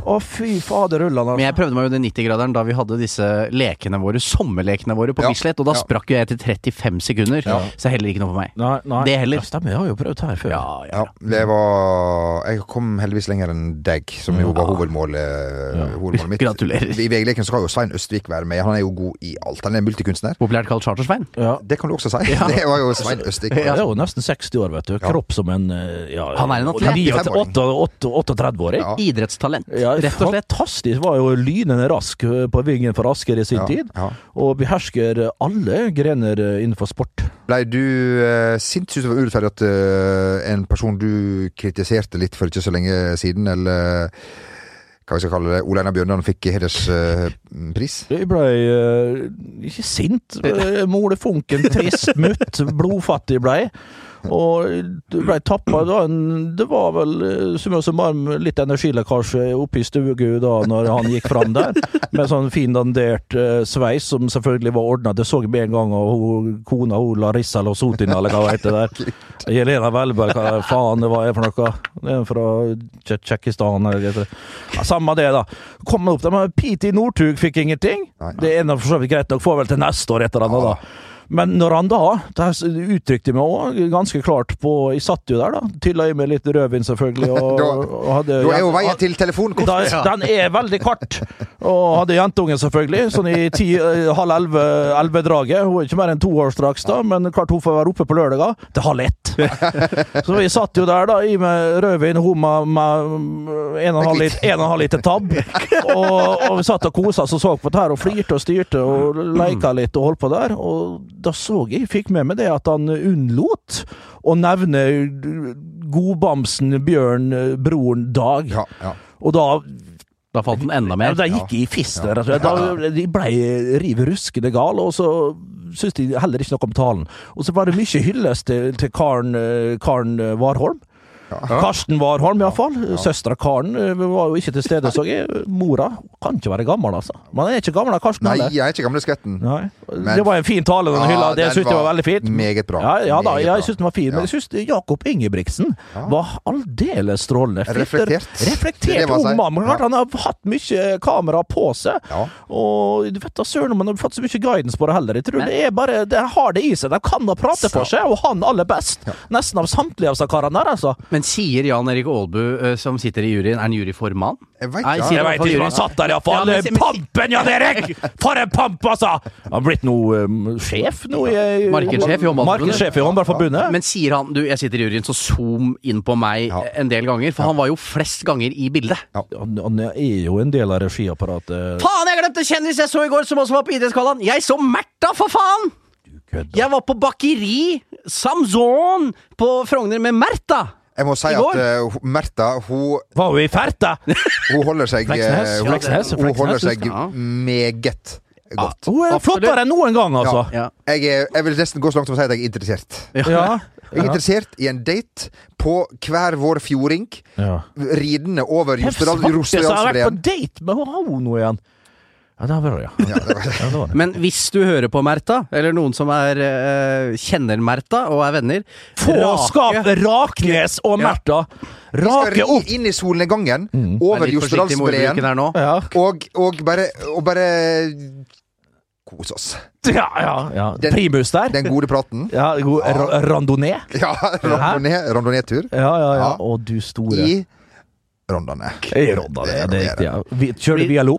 [SPEAKER 1] Å, fy fader, rullene.
[SPEAKER 3] Men
[SPEAKER 1] altså.
[SPEAKER 3] jeg prøvde meg jo den 90-graderen da vi hadde disse lekene våre, sommerlekene våre på
[SPEAKER 2] Ja.
[SPEAKER 3] Bislett, og da
[SPEAKER 2] Ja.
[SPEAKER 3] sprakk jo jeg etter 35 sekunder. Så heller ikke noe for meg.
[SPEAKER 1] Nei, nei.
[SPEAKER 3] Det
[SPEAKER 1] Ja,
[SPEAKER 3] heller.
[SPEAKER 1] stemmer, jeg har jo prøvd her før.
[SPEAKER 2] Ja, det var Jeg kom heldigvis lenger enn deg, som
[SPEAKER 1] Mm.
[SPEAKER 2] jo var hovedmålet, eh, hovedmålet mitt.
[SPEAKER 3] Gratulerer.
[SPEAKER 2] I VG-leken skal jo Svein Østvik være med. Han er jo god i alt. Han er multikunstner.
[SPEAKER 3] Populært kalt Charter-Svein.
[SPEAKER 1] Ja.
[SPEAKER 2] Det kan du også si. Det var jo Svein Østvik.
[SPEAKER 1] Jeg er jo nesten 60 år, vet du. Kropp som en uh, ja,
[SPEAKER 3] Han er en atlet.
[SPEAKER 1] 38-åring.
[SPEAKER 2] Ja.
[SPEAKER 3] Idrettstalent,
[SPEAKER 1] Ja,
[SPEAKER 3] rett og slett.
[SPEAKER 1] Fantastisk. Var jo lynende rask eh, på vingen for Asker i sin
[SPEAKER 2] Ja,
[SPEAKER 1] tid.
[SPEAKER 2] ja.
[SPEAKER 1] Og behersker eh, alle grener eh, innenfor sport.
[SPEAKER 2] Blei du eh, sint? Syns du det var urettferdig at eh, en person du kritiserte litt for ikke så lenge siden, eller eh, hva vi skal kalle det, Ole Einar Bjørndalen fikk hederspris?
[SPEAKER 1] Jeg ble eh, ikke sint. eh, Mole funken, trist, mutt, blodfattig blei. Og du blei tappa da en Det var vel eh, summa summarum litt energilekkasje oppe i stugu da når han gikk fram der. Med sånn fin dandert eh, sveis som selvfølgelig var ordna. Det så jeg med en gang av hun, kona hun Larissa Losotina, eller hva hun heter der. Jelena Welberg, hva faen det var er for noe? Det er fra Tsje- Tsjekkistan eller hva det heter. Ja, Samme det, da. Kom opp der, men Pete i Northug fikk ingenting.
[SPEAKER 2] Nei.
[SPEAKER 1] Det er nå for så vidt greit nok, får vel til neste år et eller annet, da. Men når han da Det her uttrykte jeg meg òg ganske klart på Jeg satt jo der, da. Tylla i meg litt rødvin, selvfølgelig, og,
[SPEAKER 2] Da-
[SPEAKER 1] og hadde
[SPEAKER 2] Da er jo veien til telefonen kort!
[SPEAKER 1] da, Den er veldig kort. Og hadde jentungen, selvfølgelig. Sånn i ti, eh, halv elleve, elleve-draget. Hun er ikke mer enn to år straks, da, men klart hun får være oppe på lørdager til halv ett. Så vi satt jo der, da, i med rødvin, hun med, med en og en halv lit- en og en halv liter tab. Og, og vi satt og kosa oss og så på det her, og flirte og styrte og leika litt og holdt på der. Og da så jeg, fikk med meg det, at han unnlot å nevne godbamsen Bjørn, eh, broren Dag.
[SPEAKER 2] Ja, ja.
[SPEAKER 1] Og da
[SPEAKER 3] Da falt den enda mer.
[SPEAKER 1] ja, da gikk jeg i fist der. Altså. Da, de ble riv ruskende gale, og så syntes de heller ikke noe om talen. Og så var det mye hyllest til, til Karen, eh, Karen Warholm. Karsten Warholm, iallfall. Ja. Søstera Karen eh, var jo ikke til stede, så jeg. Mora kan ikke være gammel, altså. Men han er ikke gammel, han Karsten.
[SPEAKER 2] Nei,
[SPEAKER 1] heller.
[SPEAKER 2] jeg er ikke gamle skvetten.
[SPEAKER 1] Nei.
[SPEAKER 2] Men-
[SPEAKER 1] det var en fin tale, den
[SPEAKER 2] Ja,
[SPEAKER 1] hylla. Det
[SPEAKER 2] den
[SPEAKER 1] syns jeg var
[SPEAKER 2] var
[SPEAKER 1] veldig fint.
[SPEAKER 2] meget bra.
[SPEAKER 1] Ja, ja da,
[SPEAKER 2] Meget bra.
[SPEAKER 1] jeg syns den var fin.
[SPEAKER 2] Ja.
[SPEAKER 1] Men jeg syns Jakob Ingebrigtsen var aldeles strålende. Fitter-
[SPEAKER 2] Reflektert. Det er det
[SPEAKER 1] Reflektert
[SPEAKER 2] man
[SPEAKER 1] ung
[SPEAKER 2] sier.
[SPEAKER 1] mann. Men
[SPEAKER 2] Ja.
[SPEAKER 1] klart, Han har hatt mye kamera på seg.
[SPEAKER 2] Ja.
[SPEAKER 1] Og du vet da søren om han har fått så mye guidance på det heller. Jeg tror det er bare De har det i seg. De kan da prate for seg, og han aller best. Nesten av samtlige av disse karene her, altså.
[SPEAKER 3] Men sier Jan Erik Aalbu, eh, som sitter i juryen, er han juryformann?
[SPEAKER 2] Jeg vet
[SPEAKER 3] Nei,
[SPEAKER 2] ikke.
[SPEAKER 3] sier
[SPEAKER 1] Jeg
[SPEAKER 3] han i
[SPEAKER 1] veit
[SPEAKER 3] hvert fall
[SPEAKER 1] ikke, han
[SPEAKER 3] juryen.
[SPEAKER 1] satt der
[SPEAKER 3] Ja,
[SPEAKER 1] iallfall.
[SPEAKER 3] men- men-
[SPEAKER 1] Pampen, Jan Erik! For en pamp, altså! Han har blitt noe um, sjef nå i i-
[SPEAKER 3] Markedssjef i Håndballforbundet.
[SPEAKER 1] Markedssjef i Håndballforbundet.
[SPEAKER 3] Men sier han du, jeg sitter i juryen, så zoom inn på meg en del ganger, for han var jo flest ganger i bildet.
[SPEAKER 1] Han, han er jo en del av regiapparatet.
[SPEAKER 3] Faen, jeg glemte kjendis jeg så i går, som også var på idrettsgallaen! Jeg så Märtha, for faen!
[SPEAKER 1] Kødda.
[SPEAKER 3] Jeg var på bakeri Samson på Frogner med Märtha!
[SPEAKER 2] Jeg må si
[SPEAKER 3] I
[SPEAKER 2] at
[SPEAKER 3] går?
[SPEAKER 2] eh, hun- Märtha, hun,
[SPEAKER 1] Var jo i ferta!
[SPEAKER 2] hun holder seg eh,
[SPEAKER 1] Fleksnes,
[SPEAKER 2] hun,
[SPEAKER 1] Fleksnes,
[SPEAKER 2] hun holder
[SPEAKER 1] Fleksnes,
[SPEAKER 2] seg
[SPEAKER 3] ja.
[SPEAKER 2] meget godt.
[SPEAKER 1] Hun er
[SPEAKER 3] Absolutt.
[SPEAKER 1] flottere enn noen gang, altså.
[SPEAKER 3] Ja.
[SPEAKER 2] Jeg, er, jeg vil nesten gå så langt som å si at jeg er interessert.
[SPEAKER 1] Ja.
[SPEAKER 2] Jeg er interessert i en date på hver vår fjording,
[SPEAKER 1] Ja.
[SPEAKER 2] ridende over
[SPEAKER 1] Jeg har
[SPEAKER 2] Jostedal-
[SPEAKER 1] vært på
[SPEAKER 2] Jostedalsbreen.
[SPEAKER 1] date med henne nå igjen. Ja, det var det, ja. ja, det var det.
[SPEAKER 3] Men hvis du hører på Märtha, eller noen som er, eh, kjenner Märtha og er venner
[SPEAKER 1] Få
[SPEAKER 3] rake-
[SPEAKER 1] skap Raknes og Märtha!
[SPEAKER 2] Vi skal
[SPEAKER 1] Rake opp! Mm.
[SPEAKER 2] ri inn i solnedgangen,
[SPEAKER 3] Vær
[SPEAKER 2] over
[SPEAKER 3] litt forsiktig med ordbruken
[SPEAKER 2] Jostedalsbreen,
[SPEAKER 3] her nå.
[SPEAKER 1] Ja,
[SPEAKER 2] og, og bare, og bare kose oss.
[SPEAKER 1] ja, ja. ja.
[SPEAKER 2] Den-
[SPEAKER 1] Primus der.
[SPEAKER 2] Den gode praten.
[SPEAKER 1] Ja, god ra- randonee.
[SPEAKER 2] Ja, randonee- randoneetur
[SPEAKER 1] Ja, ja, ja.
[SPEAKER 2] Ja.
[SPEAKER 1] Å, du store.
[SPEAKER 2] i Rondane.
[SPEAKER 1] I randonee, det er riktig. Ja. Vi- Kjører du via lo?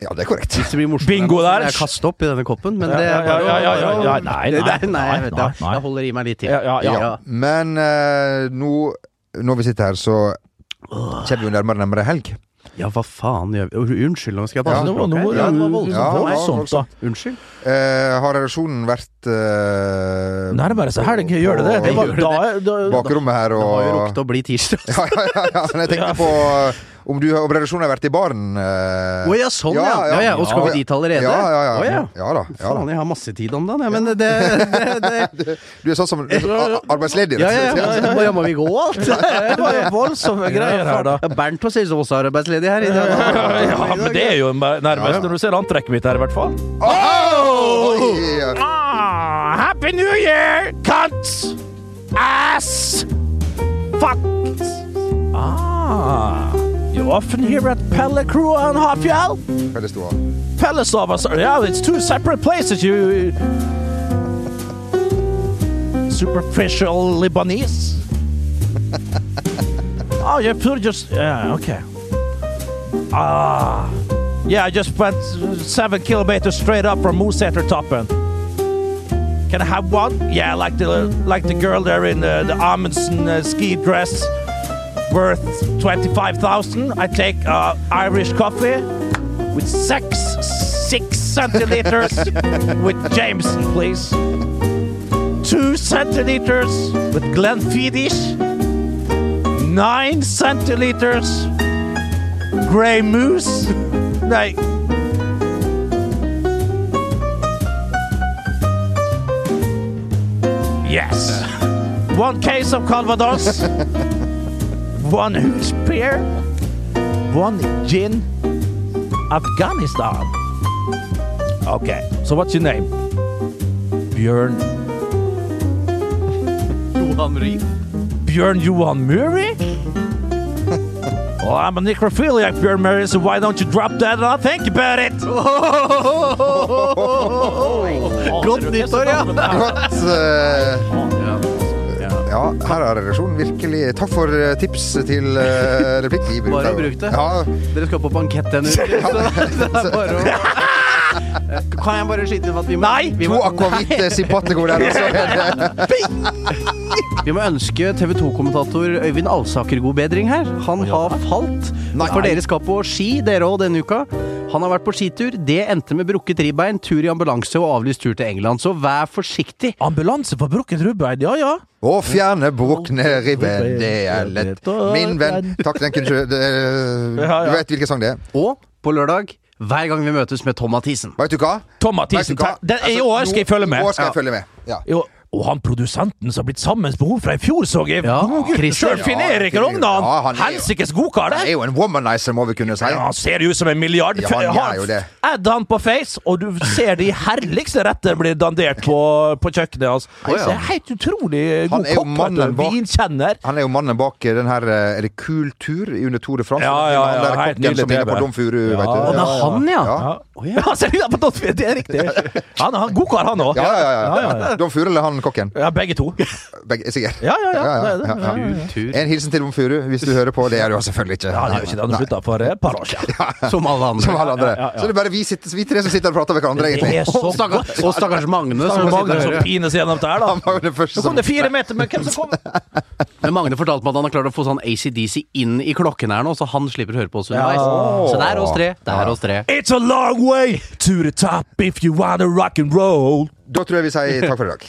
[SPEAKER 2] Ja, det er korrekt.
[SPEAKER 3] Hvis det blir morsomt,
[SPEAKER 1] Bingo
[SPEAKER 3] så må
[SPEAKER 1] der.
[SPEAKER 3] Jeg kaste opp i denne koppen, men
[SPEAKER 1] Ja,
[SPEAKER 3] det
[SPEAKER 1] ja,
[SPEAKER 3] er bare
[SPEAKER 1] ja, ja, ja, ja, ja, nei,
[SPEAKER 3] Det-
[SPEAKER 1] nei,
[SPEAKER 3] det- nei, jeg vet
[SPEAKER 1] nei,
[SPEAKER 3] det.
[SPEAKER 1] nei.
[SPEAKER 3] Jeg holder i meg litt til.
[SPEAKER 1] Ja, ja, ja.
[SPEAKER 2] Ja. Men eh, nå, når vi sitter her, så kommer vi jo nærmere og nærmere helg.
[SPEAKER 3] Ja, hva faen gjør vi Unnskyld, nå skal jeg passe
[SPEAKER 1] Ja, det var noe
[SPEAKER 3] språket her. Ja, det var
[SPEAKER 1] voldsomt,
[SPEAKER 3] voldsomt.
[SPEAKER 2] Ja, det var
[SPEAKER 1] voldsomt, da.
[SPEAKER 3] Unnskyld.
[SPEAKER 2] Eh, har redaksjonen vært eh,
[SPEAKER 1] Nærmere seg helg, gjør det det?
[SPEAKER 2] på-
[SPEAKER 1] Det var
[SPEAKER 3] Gjør det
[SPEAKER 1] da, da
[SPEAKER 2] Bakrommet her
[SPEAKER 3] Det
[SPEAKER 2] og
[SPEAKER 3] har jo rukket å bli tirsdag.
[SPEAKER 2] ja, ja, ja, ja, men jeg tenkte på eh, om, du, om redaksjonen har vært i baren. eh.
[SPEAKER 3] Å ja, sånn, ja. Ja, ja, og skal vi dit allerede?
[SPEAKER 2] Ja, ja, ja.
[SPEAKER 3] Å, ja.
[SPEAKER 2] ja da. Ja,
[SPEAKER 3] Faen,
[SPEAKER 2] da.
[SPEAKER 3] jeg har masse tid om dagen, jeg, men det, det, det, det
[SPEAKER 2] Du er sånn som du er sånn a- arbeidsledig.
[SPEAKER 3] Ja,
[SPEAKER 2] rett og
[SPEAKER 3] ja,
[SPEAKER 2] slett.
[SPEAKER 3] ja. Må, ja, må vi gå, alt?
[SPEAKER 1] Det var jo voldsomme greier her, da.
[SPEAKER 3] Ja, Bernt var sikkert også arbeidsledig her. i dag.
[SPEAKER 1] Ja, men det er jo nærmest når du ser antrekket mitt her, i hvert fall.
[SPEAKER 2] Oi!
[SPEAKER 1] Ah, happy New Year, cunt! Ass! Fuck! Ah, you often hear at Pelle Crew on Hafjell?
[SPEAKER 2] Hva er det stod av?
[SPEAKER 1] Palace of us. Yeah, it's two separate places. You superficial Lebanese. oh, you pure just yeah. Okay. Ah, yeah. I just went seven kilometers straight up from Moosetter Toppen. Can I have one? Yeah, like the like the girl there in uh, the Amundsen uh, ski dress, worth twenty five thousand. I take uh, Irish coffee with six six centiliters with Jameson, please. Two centiliters with Glenfiddich. Nine centiliters Grey Moose. Nei. Yes. One case of Calvados. one Hoos beer. One gin. Afghanistan. Okay. So what's your name? Bjørn
[SPEAKER 3] Johan Ry.
[SPEAKER 1] Björn Johan Murray? well, I'm a necrophiliac, Björn Murray, so why don't you drop that and I'll think about it?
[SPEAKER 3] Godt nyttår, ja!
[SPEAKER 2] Godt eh, Ja, her har redaksjonen virkelig Takk for eh, tips til eh, replikk. Vi bruker
[SPEAKER 3] Bare å
[SPEAKER 2] jo-
[SPEAKER 3] bruke det.
[SPEAKER 2] Ja,
[SPEAKER 3] Dere skal på bankett denne uken, så det er bare å Kan jeg bare skyte inn at vi må
[SPEAKER 1] Nei!
[SPEAKER 3] vi
[SPEAKER 2] to
[SPEAKER 3] må,
[SPEAKER 2] akvavite simpatico der, og så er det
[SPEAKER 3] vi må ønske TV 2-kommentator Øyvind Alsaker god bedring her. Han har falt. For dere skal på ski, dere òg, denne uka. Han har vært på skitur. Det endte med brukket ribbein, tur i ambulanse og avlyst tur til England. Så vær forsiktig.
[SPEAKER 1] Ambulanse for brukket rubbein, ja ja.
[SPEAKER 2] Å fjerne brukne ribben, det er lett. Min venn. Takk, den kunne ikke det, eh,
[SPEAKER 1] Ja,
[SPEAKER 2] Du
[SPEAKER 1] ja.
[SPEAKER 2] vet hvilken sang det er.
[SPEAKER 3] Og på lørdag, hver gang vi møtes med Tom Mathisen.
[SPEAKER 2] Vet du hva?
[SPEAKER 1] Tom Mathisen,
[SPEAKER 2] Vet du hva?
[SPEAKER 1] takk. Den- i år Altså, skal jeg følge med.
[SPEAKER 2] I år skal jeg
[SPEAKER 1] Ja.
[SPEAKER 2] følge med. Ja.
[SPEAKER 1] Jo, Og han produsenten som har blitt sammen med henne fra i fjor, så jeg!
[SPEAKER 3] Ja,
[SPEAKER 1] God gud,
[SPEAKER 3] Christer.
[SPEAKER 1] Sjøl finerer ikke
[SPEAKER 2] Ja,
[SPEAKER 1] rognene!
[SPEAKER 2] ja, han er jo-
[SPEAKER 1] Helsikes godkar,
[SPEAKER 2] Han
[SPEAKER 1] det!
[SPEAKER 2] er jo en womanizer, må vi kunne si.
[SPEAKER 1] Ja, han ser jo ut som en milliard.
[SPEAKER 2] Ja, han
[SPEAKER 1] Ha-
[SPEAKER 2] er jo det.
[SPEAKER 1] Add han på Face, og du ser de herligste retter blir dandert på, på kjøkkenet hans.
[SPEAKER 2] ja.
[SPEAKER 1] Det er helt utrolig
[SPEAKER 2] Han
[SPEAKER 1] god
[SPEAKER 2] er jo
[SPEAKER 1] kokk, vet
[SPEAKER 2] mannen
[SPEAKER 1] du.
[SPEAKER 2] bak-
[SPEAKER 1] Vinkjenner.
[SPEAKER 2] Han er jo mannen bak eh, den her eh, Er det Kultur under Tour de France?
[SPEAKER 1] Ja, ja,
[SPEAKER 2] Han
[SPEAKER 1] ja,
[SPEAKER 2] der
[SPEAKER 1] helt
[SPEAKER 2] kokken
[SPEAKER 1] nydelig
[SPEAKER 2] som ligger på
[SPEAKER 1] TV.
[SPEAKER 2] Dom Furu,
[SPEAKER 1] liksom Ja,
[SPEAKER 2] vet du.
[SPEAKER 1] og Ja, ja,
[SPEAKER 3] Det er han, ja!
[SPEAKER 2] Ja.
[SPEAKER 1] Ja. Han ser ut på Dolphin, det er riktig. Han, han godkar, han òg.
[SPEAKER 2] Ja, ja, ja, ja.
[SPEAKER 1] Ja, ja, ja.
[SPEAKER 2] Dom Furu eller han kokken?
[SPEAKER 1] Ja, begge to.
[SPEAKER 2] Begge, sikkert.
[SPEAKER 1] Ja, ja, ja.
[SPEAKER 2] Ja, ja,
[SPEAKER 1] Det er det.
[SPEAKER 2] ja, ja.
[SPEAKER 1] Ja, ja, ja.
[SPEAKER 3] Tur.
[SPEAKER 2] En hilsen til Dom Furu, hvis du hører på. Det gjør du selvfølgelig ikke.
[SPEAKER 1] Ja, han gjør ikke det. Han
[SPEAKER 2] Nei.
[SPEAKER 1] slutta for et par år siden.
[SPEAKER 3] Som alle andre.
[SPEAKER 2] Som alle andre.
[SPEAKER 1] Ja, ja, ja.
[SPEAKER 2] Så det er bare vi, sitter, vi tre som sitter og prater med hverandre,
[SPEAKER 1] Det er
[SPEAKER 2] egentlig.
[SPEAKER 1] så
[SPEAKER 3] Og stakkars, og stakkars Magne.
[SPEAKER 1] Magne
[SPEAKER 3] Som sitter
[SPEAKER 1] som
[SPEAKER 3] og hører.
[SPEAKER 1] pines gjennom der,
[SPEAKER 2] Han
[SPEAKER 1] da.
[SPEAKER 2] var jo den første
[SPEAKER 1] Så kom
[SPEAKER 2] som
[SPEAKER 1] det fire meter, men hvem som kom?
[SPEAKER 3] Men Magne fortalte meg at han har klart å få sånn ACDC inn i klokken her nå, så han slipper å høre på oss
[SPEAKER 1] Ja.
[SPEAKER 3] underveis. Så det er oss tre. Det er oss tre.
[SPEAKER 1] It's a long way to the top if you wanna rock and roll.
[SPEAKER 2] Da tror jeg vi sier takk for i dag.